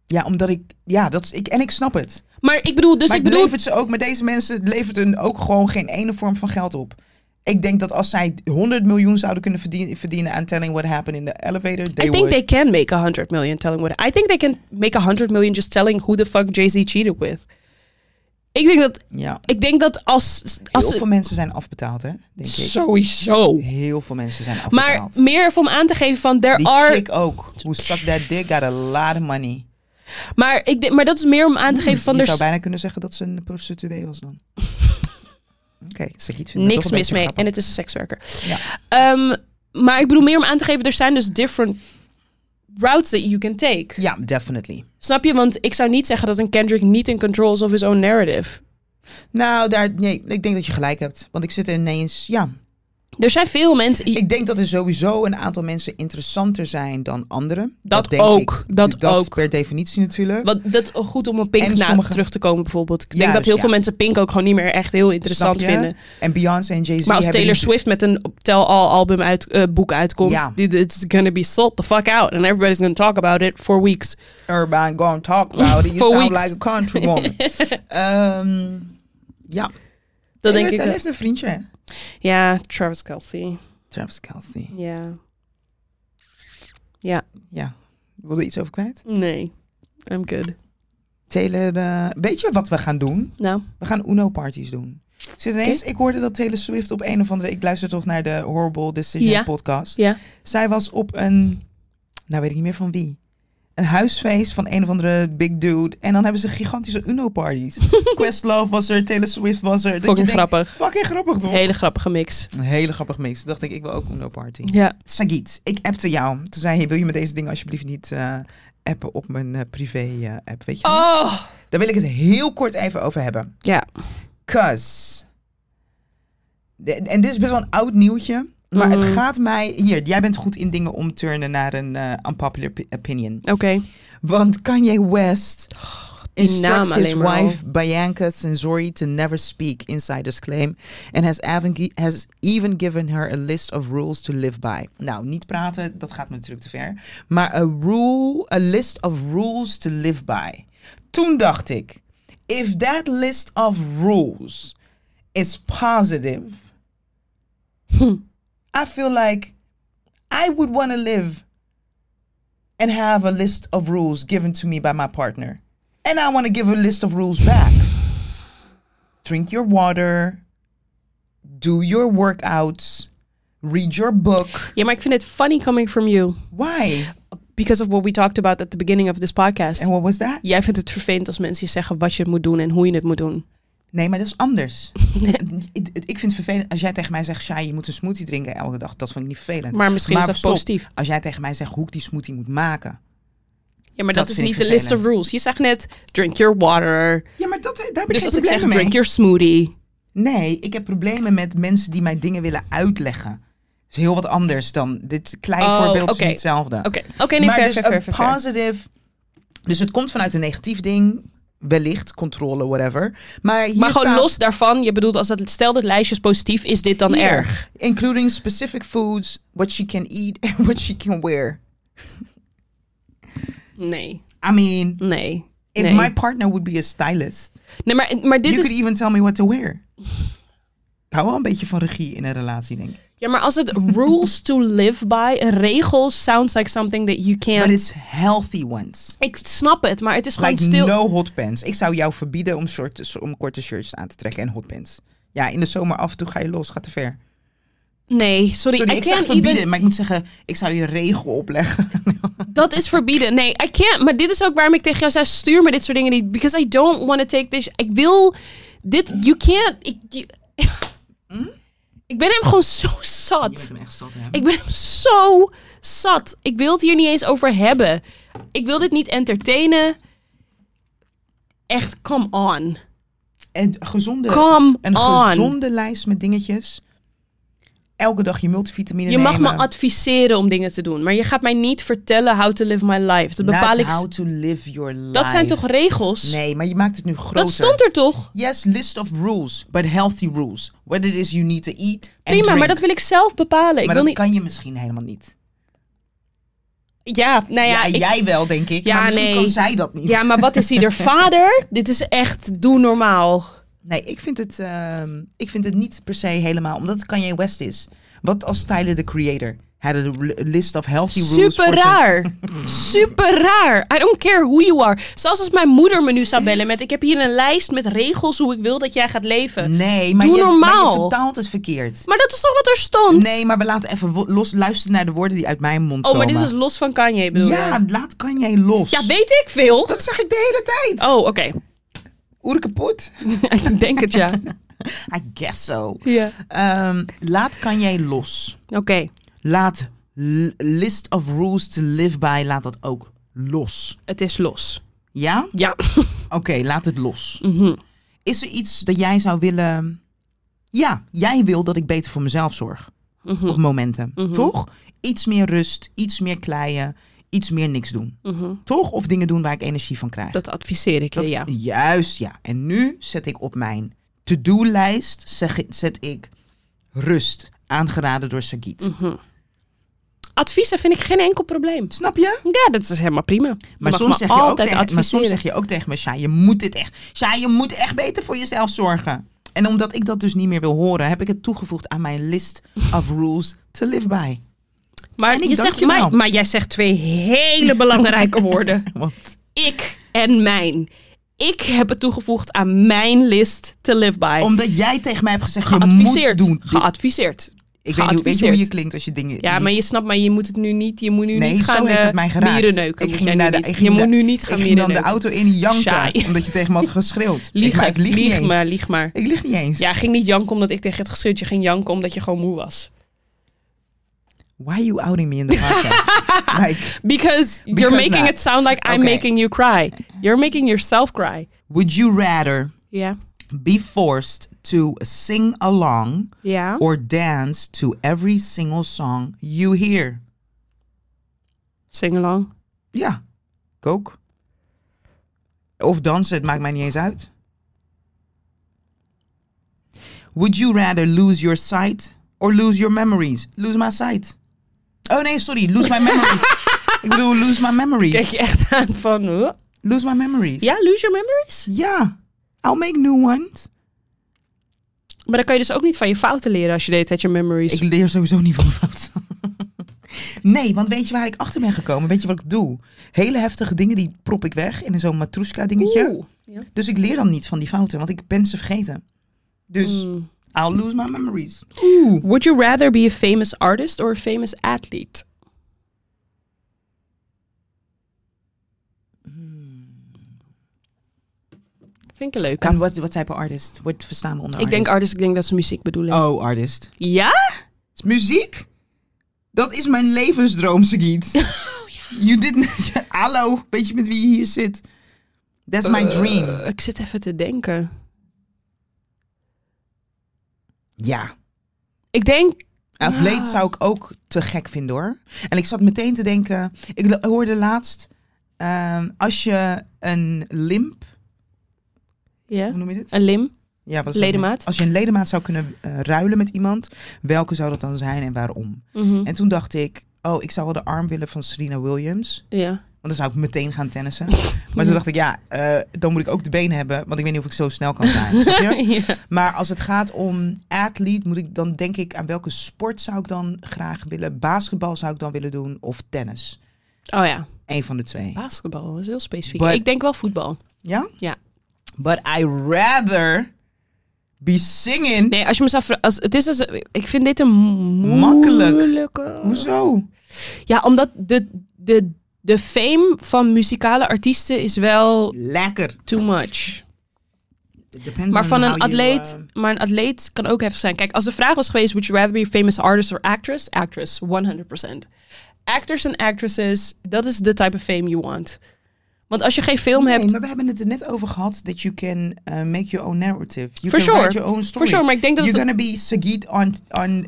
Speaker 2: Ja, omdat ik... Ja, dat is, ik, en ik snap het.
Speaker 1: Maar ik bedoel, dus
Speaker 2: maar
Speaker 1: ik
Speaker 2: het
Speaker 1: bedoel.
Speaker 2: levert ze ook... Met deze mensen het levert hun ook gewoon geen ene vorm van geld op. Ik denk dat als zij 100 miljoen zouden kunnen verdienen, verdienen aan Telling What Happened in the Elevator, they
Speaker 1: I think
Speaker 2: would.
Speaker 1: they can make a hundred million telling what. I think they can make a hundred million just telling who the fuck Jay Z cheated with. Ik denk dat,
Speaker 2: ja.
Speaker 1: ik denk dat als als
Speaker 2: Heel
Speaker 1: ze-
Speaker 2: veel mensen zijn afbetaald, hè? Denk ik.
Speaker 1: sowieso.
Speaker 2: Heel veel mensen zijn
Speaker 1: Maar
Speaker 2: afbetaald.
Speaker 1: meer om aan te geven van there
Speaker 2: Die
Speaker 1: are.
Speaker 2: chick ook. Who sucked that dick got a lot of money.
Speaker 1: Maar ik denk- maar dat is meer om aan te geven van
Speaker 2: je
Speaker 1: er
Speaker 2: Hmm, zou
Speaker 1: is
Speaker 2: bijna kunnen zeggen dat ze een prostituee was dan. Oké, Sagit vindt
Speaker 1: niks mis mee en
Speaker 2: En
Speaker 1: het is een sekswerker.
Speaker 2: Ja.
Speaker 1: Ehm, maar ik bedoel meer om aan te geven er zijn dus different routes that you can take.
Speaker 2: Ja, definitely.
Speaker 1: Snap je? Want ik zou niet zeggen dat een Kendrick niet in control is of his own narrative.
Speaker 2: Nou, daar, nee, ik denk dat je gelijk hebt. Want ik zit er ineens... Ja,
Speaker 1: Er zijn veel mensen.
Speaker 2: ik denk dat er sowieso een aantal mensen interessanter zijn dan anderen.
Speaker 1: Dat
Speaker 2: denk
Speaker 1: ook,
Speaker 2: ik.
Speaker 1: dat ook.
Speaker 2: per definitie natuurlijk.
Speaker 1: Wat, dat oh, goed om een Pink
Speaker 2: En
Speaker 1: na
Speaker 2: sommige-
Speaker 1: terug te komen bijvoorbeeld. Ik denk
Speaker 2: Juist,
Speaker 1: dat heel
Speaker 2: ja.
Speaker 1: veel mensen Pink ook gewoon niet meer echt heel interessant
Speaker 2: Snap je?
Speaker 1: vinden.
Speaker 2: En Beyoncé en Jay-Z
Speaker 1: Maar als
Speaker 2: hebben
Speaker 1: Taylor
Speaker 2: niet-
Speaker 1: Swift met een tell-all album uit, eh, boek uitkomt,
Speaker 2: Ja.
Speaker 1: die- it's gonna be sold the fuck out. And everybody's gonna talk about it for weeks.
Speaker 2: Urban gonna talk about it. You
Speaker 1: For
Speaker 2: sound
Speaker 1: weeks.
Speaker 2: like a country woman. Ehm, ja.
Speaker 1: Dat
Speaker 2: Taylor-
Speaker 1: denk ik.
Speaker 2: Taylor
Speaker 1: wel.
Speaker 2: heeft een vriendje, hè?
Speaker 1: Ja, Travis Kelsey.
Speaker 2: Travis Kelsey.
Speaker 1: Ja.
Speaker 2: Ja. Wil je iets over kwijt?
Speaker 1: Nee. I'm good.
Speaker 2: Taylor, eh, weet je wat we gaan doen?
Speaker 1: Nou.
Speaker 2: We gaan Uno-parties doen. Zit ineens, ik hoorde dat Taylor Swift op een of andere... Ik luister toch naar de Horrible Decision
Speaker 1: Ja.
Speaker 2: podcast.
Speaker 1: Ja.
Speaker 2: Zij was op een... Nou, weet ik niet meer van wie. Een huisfeest van een of andere big dude. En dan hebben ze gigantische Uno-parties. Questlove was er, Taylor Swift was er. Dat je
Speaker 1: Fucking
Speaker 2: denkt,
Speaker 1: grappig.
Speaker 2: Fucking grappig, toch?
Speaker 1: Hele grappige mix.
Speaker 2: Een hele grappig mix. Toen dacht ik, ik wil ook Uno-party.
Speaker 1: Ja.
Speaker 2: Sagit, ik appte jou. Toen zei hij, wil je me deze dingen alsjeblieft niet eh, appen op mijn eh, privé-app, weet je wel?
Speaker 1: Oh!
Speaker 2: Daar wil ik het heel kort even over hebben.
Speaker 1: Ja.
Speaker 2: Cuz. De- En dit is best wel een oud nieuwtje. Maar het
Speaker 1: Mhm.
Speaker 2: gaat mij... Hier, jij bent goed in dingen omturnen naar een eh, unpopular pi- opinion.
Speaker 1: Oké.
Speaker 2: Want Kanye West
Speaker 1: Oh, die
Speaker 2: instructs
Speaker 1: naam
Speaker 2: his
Speaker 1: alleen maar al.
Speaker 2: wife Bianca Sensori to never speak, insiders claim. And has even, gi- has even given her a list of rules to live by. Nou, niet praten, dat gaat me natuurlijk te ver. Maar a, rule, a list of rules to live by. Toen dacht ik, if that list of rules is positive,
Speaker 1: Hm.
Speaker 2: I feel like I would want to live and have a list of rules given to me by my partner. And I want to give a list of rules back. Drink your water, do your workouts, read your book.
Speaker 1: Ja, maar ik vind het funny coming from you.
Speaker 2: Why?
Speaker 1: Because of what we talked about at the beginning of this podcast.
Speaker 2: And what was that?
Speaker 1: Jij vindt het vervelend als mensen je zeggen wat je moet doen en hoe je het moet doen.
Speaker 2: Nee, maar dat is anders. ik, ik vind het vervelend als jij tegen mij zegt, Shai, je moet een smoothie drinken elke dag. Dat vind ik niet vervelend.
Speaker 1: Maar misschien
Speaker 2: Maar
Speaker 1: is dat
Speaker 2: stop.
Speaker 1: positief.
Speaker 2: Als jij tegen mij zegt hoe ik die smoothie moet maken.
Speaker 1: Ja, maar
Speaker 2: Dat
Speaker 1: dat, is
Speaker 2: vind ik
Speaker 1: niet de list of
Speaker 2: vervelend.
Speaker 1: rules. Je zegt net, drink your water.
Speaker 2: Ja, maar dat, daar heb ik
Speaker 1: Dus
Speaker 2: geen
Speaker 1: als ik zeg,
Speaker 2: probleem mee.
Speaker 1: drink your smoothie.
Speaker 2: Nee, ik heb problemen met mensen die mij dingen willen uitleggen. Dat is heel wat anders dan dit klein
Speaker 1: Oh,
Speaker 2: voorbeeld
Speaker 1: oké.
Speaker 2: is niet hetzelfde.
Speaker 1: Oké, oké, nee,
Speaker 2: maar
Speaker 1: ver,
Speaker 2: dus
Speaker 1: ver, ver,
Speaker 2: een
Speaker 1: ver, ver.
Speaker 2: positive. Dus het komt vanuit een negatief ding, wellicht controle whatever. Maar hier
Speaker 1: Maar gewoon
Speaker 2: staat,
Speaker 1: los daarvan, je bedoelt, als dat, stel dat lijstje is positief, is dit dan
Speaker 2: Hier,
Speaker 1: erg?
Speaker 2: Including specific foods, what she can eat and what she can wear.
Speaker 1: Nee,
Speaker 2: I mean,
Speaker 1: nee,
Speaker 2: if
Speaker 1: nee.
Speaker 2: my partner would be a stylist,
Speaker 1: nee maar, maar dit
Speaker 2: you
Speaker 1: is...
Speaker 2: could e- even tell me what to wear. Ik hou wel een beetje van regie in een relatie, denk ik.
Speaker 1: Ja, maar als het rules to live by, regels sounds like something that you
Speaker 2: But
Speaker 1: can't...
Speaker 2: it's healthy ones.
Speaker 1: Ik snap het, maar het is gewoon
Speaker 2: Like
Speaker 1: stil...
Speaker 2: no hot pants. Ik zou jou verbieden om, short, om korte shirts aan te trekken en hot pants. Ja, in de zomer af en toe ga je los, gaat te ver.
Speaker 1: Nee, sorry,
Speaker 2: Sorry,
Speaker 1: I
Speaker 2: ik zeg
Speaker 1: can't
Speaker 2: verbieden,
Speaker 1: even...
Speaker 2: maar ik moet zeggen, ik zou je regel opleggen.
Speaker 1: Dat is verbieden. Nee, I can't. Maar dit is ook waarom ik tegen jou zei: stuur me dit soort dingen niet. Because I don't want to take this. Ik wil dit. You can't. Ik, you- Ik ben hem gewoon zo
Speaker 2: Hmm? Je bent
Speaker 1: zat.
Speaker 2: hem echt zat, hè?
Speaker 1: Ik ben hem zo zat. Ik wil het hier niet eens over hebben. Ik wil dit niet entertainen. Echt, come on.
Speaker 2: En gezonde,
Speaker 1: Come
Speaker 2: een
Speaker 1: on.
Speaker 2: gezonde lijst met dingetjes. Elke dag je multivitamine
Speaker 1: Je mag
Speaker 2: nemen.
Speaker 1: me adviseren om dingen te doen, maar je gaat mij niet vertellen how to live my life. Dat
Speaker 2: Not
Speaker 1: bepaal ik.
Speaker 2: how to live your life.
Speaker 1: Dat zijn toch regels?
Speaker 2: Nee, maar je maakt het nu groter.
Speaker 1: dat stond er toch?
Speaker 2: Yes, list of rules, but healthy rules. What it is you need to eat and
Speaker 1: Prima,
Speaker 2: drink.
Speaker 1: maar dat wil ik zelf bepalen. Ik
Speaker 2: Maar
Speaker 1: wil
Speaker 2: dat
Speaker 1: niet.
Speaker 2: kan je misschien helemaal niet.
Speaker 1: Ja, nou ja,
Speaker 2: Ja,
Speaker 1: ik-
Speaker 2: jij wel, denk ik.
Speaker 1: Ja,
Speaker 2: maar misschien
Speaker 1: nee.
Speaker 2: kan zij dat niet.
Speaker 1: ja, maar wat is ieder vader? Dit is echt doe normaal.
Speaker 2: Nee, ik vind, het, ehm, ik vind het niet per se helemaal, omdat het Kanye West is. Wat als Tyler, the creator, had een li- list of healthy rules
Speaker 1: Super
Speaker 2: voor zijn-
Speaker 1: raar. Super raar. I don't care who you are. Zelfs als mijn moeder me nu zou bellen met... ik heb hier een lijst met regels hoe ik wil dat jij gaat leven.
Speaker 2: Nee, maar
Speaker 1: Doe
Speaker 2: je, maar
Speaker 1: normaal.
Speaker 2: je vertaalt het verkeerd.
Speaker 1: Maar dat is toch wat er stond?
Speaker 2: Nee, maar we laten even wo- los luisteren naar de woorden die uit mijn mond
Speaker 1: Oh,
Speaker 2: komen.
Speaker 1: maar dit is los van Kanye, bedoel
Speaker 2: Ja,
Speaker 1: je?
Speaker 2: laat Kanye los.
Speaker 1: Ja, weet ik veel.
Speaker 2: Dat zeg ik de hele tijd.
Speaker 1: Oh, oké. Oh.
Speaker 2: Oer kapot.
Speaker 1: ik denk het, ja.
Speaker 2: I guess so.
Speaker 1: ja.
Speaker 2: Ehm, laat Kanye los.
Speaker 1: Oké.
Speaker 2: Laat l- list of rules to live by, laat dat ook los.
Speaker 1: Het is los.
Speaker 2: Ja?
Speaker 1: Ja.
Speaker 2: Oké, laat het los.
Speaker 1: Mhm.
Speaker 2: Is er iets dat jij zou willen... Ja, jij wil dat ik beter voor mezelf zorg.
Speaker 1: Mhm.
Speaker 2: Op momenten.
Speaker 1: Mhm.
Speaker 2: Toch? Iets meer rust, iets meer kleien, iets meer niks doen.
Speaker 1: Mhm.
Speaker 2: Toch? Of dingen doen waar ik energie van krijg.
Speaker 1: Dat adviseer ik je,
Speaker 2: Dat-
Speaker 1: ja.
Speaker 2: Juist, ja. En nu zet ik op mijn to-do-lijst, zeg ik- zet ik rust, aangeraden door Sagit.
Speaker 1: Mhm. Adviezen vind ik geen enkel probleem.
Speaker 2: Snap je?
Speaker 1: Ja, dat is helemaal prima. Je
Speaker 2: Maar
Speaker 1: mag
Speaker 2: soms,
Speaker 1: me
Speaker 2: zeg je ook
Speaker 1: altijd
Speaker 2: tegen, maar soms
Speaker 1: adviseren.
Speaker 2: zeg je ook tegen me, Shai, je moet dit echt. Shai, je moet echt beter voor jezelf zorgen. En omdat ik dat dus niet meer wil horen, heb ik het toegevoegd aan mijn list of rules to live by.
Speaker 1: Maar,
Speaker 2: En ik
Speaker 1: je
Speaker 2: dank
Speaker 1: zegt,
Speaker 2: je wel.
Speaker 1: maar, maar jij zegt twee hele belangrijke woorden.
Speaker 2: Want
Speaker 1: Ik en mijn. Ik heb het toegevoegd aan mijn list to live by.
Speaker 2: omdat jij tegen mij hebt gezegd, je moet
Speaker 1: Geadviseerd.
Speaker 2: doen. dit.
Speaker 1: Geadviseerd.
Speaker 2: Ik weet, niet, hoe- weet je hoe je
Speaker 1: geadviseerd.
Speaker 2: klinkt als je dingen
Speaker 1: Ja,
Speaker 2: niet-
Speaker 1: maar je snapt, maar je moet het nu niet. Je moet nu
Speaker 2: Nee,
Speaker 1: niet
Speaker 2: zo
Speaker 1: gaan
Speaker 2: heeft
Speaker 1: eh,
Speaker 2: het mij geraakt.
Speaker 1: mieren neuken.
Speaker 2: Ik
Speaker 1: moet
Speaker 2: ging
Speaker 1: jij
Speaker 2: naar
Speaker 1: nu
Speaker 2: de-
Speaker 1: niet.
Speaker 2: ik
Speaker 1: je
Speaker 2: ging
Speaker 1: moet
Speaker 2: de-
Speaker 1: nu niet
Speaker 2: Ik
Speaker 1: gaan
Speaker 2: ging dan
Speaker 1: mieren
Speaker 2: de
Speaker 1: neuken.
Speaker 2: auto in janken,
Speaker 1: Shy.
Speaker 2: omdat je tegen me had geschreeuwd.
Speaker 1: Lieg,
Speaker 2: Ik- maar ik lieg, niet eens.
Speaker 1: maar, lieg maar.
Speaker 2: Ik lieg niet eens.
Speaker 1: Ja, ging niet janken omdat ik tegen het geschreeuwtje ging janken omdat je gewoon moe was.
Speaker 2: Why you outing me in the podcast? like,
Speaker 1: Because,
Speaker 2: Because
Speaker 1: you're making
Speaker 2: that.
Speaker 1: it sound like I'm
Speaker 2: Okay.
Speaker 1: making you cry. You're making yourself cry.
Speaker 2: would you rather
Speaker 1: Ja.
Speaker 2: be forced to sing along
Speaker 1: Ja.
Speaker 2: or dance to every single song you hear?
Speaker 1: Sing along.
Speaker 2: Ja, ik ook. Of dansen, het maakt mij niet eens uit. Would you rather lose your sight or lose your memories? Lose my sight. Oh nee, sorry, lose my memories. ik bedoel, lose my
Speaker 1: Kijk
Speaker 2: memories.
Speaker 1: je echt aan van... huh?
Speaker 2: Lose my memories.
Speaker 1: Ja, lose your memories?
Speaker 2: Ja. I'll make new ones.
Speaker 1: Maar dan kan je dus ook niet van je fouten leren als je deed dat je memories.
Speaker 2: Ik leer sowieso niet van mijn fouten. Nee, want weet je waar ik achter ben gekomen? Weet je wat ik doe? Hele heftige dingen, die prop ik weg in zo'n matroeska dingetje.
Speaker 1: Oeh. Ja.
Speaker 2: Dus ik leer dan niet van die fouten, want ik ben ze vergeten. Dus
Speaker 1: Mm.
Speaker 2: I'll lose my memories. Oeh.
Speaker 1: Would you rather be a famous artist or a famous athlete? Hmm. Vind ik een leuke.
Speaker 2: Kan, wat, wat type of artist? Wat verstaan we onder
Speaker 1: Ik denk artist, ik denk dat ze muziek bedoelen.
Speaker 2: Oh, artist.
Speaker 1: Ja?
Speaker 2: Is Muziek? Dat is mijn levensdroom, Sagiet.
Speaker 1: Oh,
Speaker 2: You didn't... Hallo, weet je met wie je hier zit? That's my dream.
Speaker 1: Eh, ik zit even te denken.
Speaker 2: Ja.
Speaker 1: Ik denk...
Speaker 2: Atleet
Speaker 1: Ja.
Speaker 2: zou ik ook te gek vinden hoor. En ik zat meteen te denken, ik l- hoorde laatst, ehm, als je een limp,
Speaker 1: Ja?
Speaker 2: hoe noem je dit?
Speaker 1: Een lim.
Speaker 2: Ja, wat is dat?
Speaker 1: Ledemaat.
Speaker 2: Als je een ledemaat zou kunnen eh, ruilen met iemand, welke zou dat dan zijn en waarom?
Speaker 1: Mhm.
Speaker 2: En toen dacht ik, oh, ik zou wel de arm willen van Serena Williams.
Speaker 1: Ja.
Speaker 2: Want dan zou ik meteen gaan tennissen. Maar toen dacht ik, ja, eh, dan moet ik ook de benen hebben. Want ik weet niet of ik zo snel kan zijn. snap je?
Speaker 1: ja.
Speaker 2: Maar als het gaat om atleet, moet ik dan denk ik aan welke sport zou ik dan graag willen? Basketbal zou ik dan willen doen of tennis?
Speaker 1: Oh ja.
Speaker 2: Eén van de twee.
Speaker 1: Basketbal. Dat is heel specifiek.
Speaker 2: But-
Speaker 1: Ik denk wel voetbal.
Speaker 2: Ja?
Speaker 1: Ja.
Speaker 2: But I rather be singing.
Speaker 1: Nee, als je me zou vra- als Het is als, ik vind dit een mo-
Speaker 2: Makkelijk.
Speaker 1: moeilijke-
Speaker 2: Hoezo?
Speaker 1: Ja, omdat de, de, de fame van muzikale artiesten is wel
Speaker 2: Lekker.
Speaker 1: too much.
Speaker 2: Depends
Speaker 1: Maar
Speaker 2: on
Speaker 1: van
Speaker 2: how
Speaker 1: een
Speaker 2: you,
Speaker 1: atleet,
Speaker 2: eh,
Speaker 1: maar een atleet kan ook heftig zijn. Kijk, als de vraag was geweest, would you rather be a famous artist or actress? Actress, 100%. Actors en actresses, dat is the type of fame you want. Want als je geen film
Speaker 2: nee,
Speaker 1: hebt,
Speaker 2: maar we hebben het er net over gehad. That you can eh, make your own narrative. You
Speaker 1: For
Speaker 2: can
Speaker 1: sure.
Speaker 2: write your own story.
Speaker 1: for sure, maar ik denk dat
Speaker 2: You're
Speaker 1: het
Speaker 2: gonna be Sagit on... on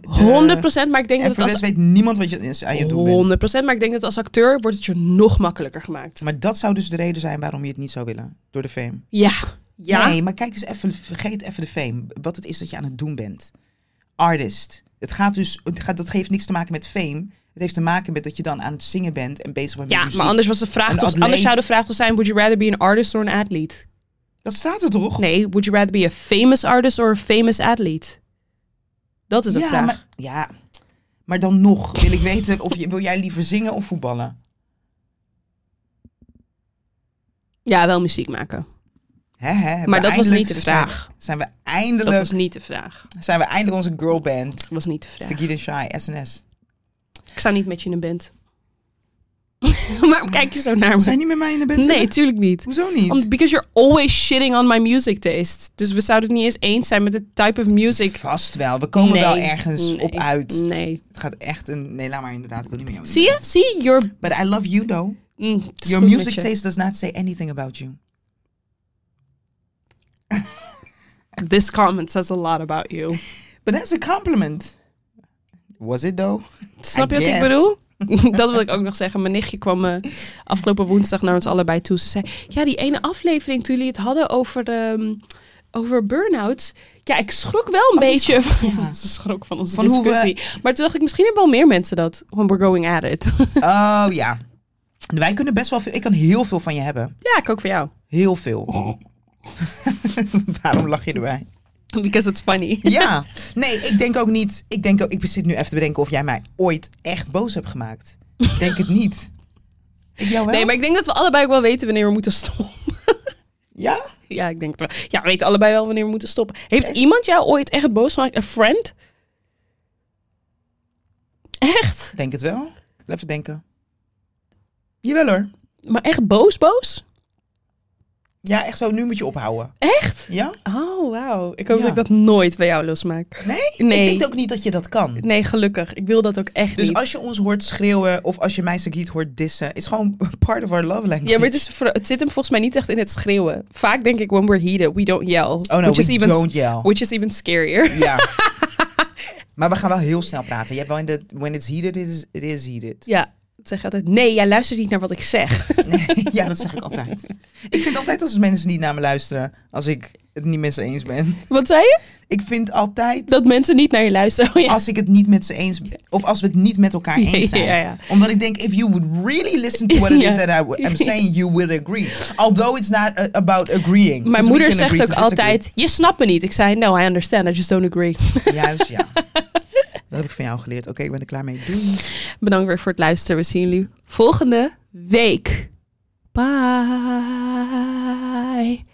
Speaker 2: the-
Speaker 1: 100%, maar ik denk
Speaker 2: En
Speaker 1: dat het
Speaker 2: voor de
Speaker 1: als
Speaker 2: rest weet niemand wat je aan je doen bent.
Speaker 1: 100%, maar ik denk dat als acteur wordt het je nog makkelijker gemaakt.
Speaker 2: Maar dat zou dus de reden zijn waarom je het niet zou willen. Door de fame.
Speaker 1: Ja. Ja.
Speaker 2: Nee, maar kijk eens even, vergeet even de fame. Wat het is dat je aan het doen bent. Artist. Het gaat dus, het gaat, dat heeft niks te maken met fame. Het heeft te maken met dat je dan aan het zingen bent en bezig bent
Speaker 1: Ja,
Speaker 2: met muziek.
Speaker 1: maar anders was de vraag
Speaker 2: Een
Speaker 1: toch, anders
Speaker 2: atleet.
Speaker 1: zou de vraag toch zijn, would you rather be an artist or an athlete?
Speaker 2: Dat staat er toch?
Speaker 1: Nee, would you rather be a famous artist or a famous athlete? Dat is de
Speaker 2: ja,
Speaker 1: vraag.
Speaker 2: Maar, ja, maar dan nog wil ik weten of je, wil jij liever zingen of voetballen?
Speaker 1: Ja, wel muziek maken.
Speaker 2: Hè, hè, hebben
Speaker 1: Maar
Speaker 2: we
Speaker 1: dat was
Speaker 2: eindelijk-
Speaker 1: niet de
Speaker 2: zijn-
Speaker 1: vraag.
Speaker 2: Zijn we
Speaker 1: Dat
Speaker 2: eindelijk,
Speaker 1: was niet de vraag.
Speaker 2: zijn we eindelijk onze girlband.
Speaker 1: Dat was niet de vraag.
Speaker 2: Sagit en Shy, SNS.
Speaker 1: Ik sta niet met je in een band. Waarom kijk je zo naar me?
Speaker 2: Zijn niet met mij in de band?
Speaker 1: Nee, tuurlijk niet.
Speaker 2: Hoezo niet?
Speaker 1: Om- because you're always shitting on my music taste. Dus we zouden het niet eens eens zijn met het type of music.
Speaker 2: Vast wel. We komen
Speaker 1: Nee,
Speaker 2: wel ergens
Speaker 1: nee,
Speaker 2: op uit.
Speaker 1: Nee.
Speaker 2: Het gaat echt een... Nee, laat maar inderdaad. Ik wil niet meer jou in
Speaker 1: Zie je? Zie je? Your,
Speaker 2: But I love you though.
Speaker 1: mm, het is
Speaker 2: Your
Speaker 1: goed met
Speaker 2: music
Speaker 1: je.
Speaker 2: taste does not say anything about you.
Speaker 1: This comment says a lot about you.
Speaker 2: But that's a compliment. Was it though?
Speaker 1: Snap je
Speaker 2: I
Speaker 1: wat ik
Speaker 2: guess.
Speaker 1: bedoel? dat wil ik ook nog zeggen. Mijn nichtje kwam eh, afgelopen woensdag naar ons allebei toe. Ze zei, ja, die ene aflevering toen jullie het hadden over, ehm over burn-outs. Ja, ik schrok wel een
Speaker 2: Oh, die
Speaker 1: beetje.
Speaker 2: schrok, ja.
Speaker 1: Ze schrok van onze
Speaker 2: Van hoe we-
Speaker 1: discussie. Maar toen dacht ik, misschien hebben wel meer mensen dat. When we're going at it.
Speaker 2: Oh ja. Wij kunnen best wel veel... Ik kan heel veel van je hebben.
Speaker 1: ja, ik ook voor jou.
Speaker 2: Heel veel. Waarom lach je erbij?
Speaker 1: Because it's funny.
Speaker 2: Ja. Nee, ik denk ook niet... Ik, denk ook, ik zit nu even te bedenken of jij mij ooit echt boos hebt gemaakt. Ik denk het niet. Ik jou wel?
Speaker 1: Nee, maar ik denk dat we allebei ook wel weten wanneer we moeten stoppen.
Speaker 2: Ja?
Speaker 1: ja, ik denk het wel. Ja, we weten allebei wel wanneer we moeten stoppen. Heeft iemand jou ooit echt boos gemaakt? Een friend? Echt?
Speaker 2: Ik Denk het wel. Even denken. Jawel hoor.
Speaker 1: Maar echt boos, boos?
Speaker 2: Ja, echt zo. Nu moet je ophouden.
Speaker 1: Echt?
Speaker 2: Ja?
Speaker 1: Oh, wauw. Ik hoop
Speaker 2: Ja.
Speaker 1: dat ik dat nooit bij jou losmaak.
Speaker 2: Nee?
Speaker 1: Nee.
Speaker 2: Ik denk ook niet dat je dat kan.
Speaker 1: Nee, gelukkig. Ik wil dat ook echt
Speaker 2: Dus
Speaker 1: niet.
Speaker 2: als je ons hoort schreeuwen of als je mij Sagiet hoort dissen, is gewoon part of our love language.
Speaker 1: Ja, maar het, is, voor- het zit hem volgens mij niet echt in het schreeuwen. Vaak denk ik, when we're heated, we don't yell.
Speaker 2: Oh no,
Speaker 1: which
Speaker 2: we
Speaker 1: is even,
Speaker 2: don't yell.
Speaker 1: Which is even scarier.
Speaker 2: Ja. maar we gaan wel heel snel praten. Je hebt wel in de, when it's heated, it is, it is heated.
Speaker 1: Ja, dat zeg je altijd. Nee, jij luistert niet naar wat ik zeg.
Speaker 2: ja, dat zeg ik altijd. Ik vind altijd als mensen niet naar me luisteren, als ik het niet met ze eens ben.
Speaker 1: Wat zei je?
Speaker 2: Ik vind altijd,
Speaker 1: Dat mensen niet naar je luisteren. Oh, ja.
Speaker 2: als ik het niet met ze eens ben, of als we het niet met elkaar
Speaker 1: Ja,
Speaker 2: eens zijn.
Speaker 1: ja, ja.
Speaker 2: Omdat ik denk, if you would really listen to what it
Speaker 1: Ja.
Speaker 2: is that I w- am saying, you would agree. Although it's not uh, about agreeing.
Speaker 1: Mijn
Speaker 2: Dus we
Speaker 1: moeder
Speaker 2: can
Speaker 1: zegt
Speaker 2: agree
Speaker 1: ook
Speaker 2: to disagree.
Speaker 1: altijd, je snapt me niet. Ik zei, no, I understand, I just don't agree.
Speaker 2: Juist, ja. Dat heb ik van jou geleerd. Oké, ik ben er klaar mee. Doei.
Speaker 1: Bedankt weer voor het luisteren. We zien jullie volgende week. Bye.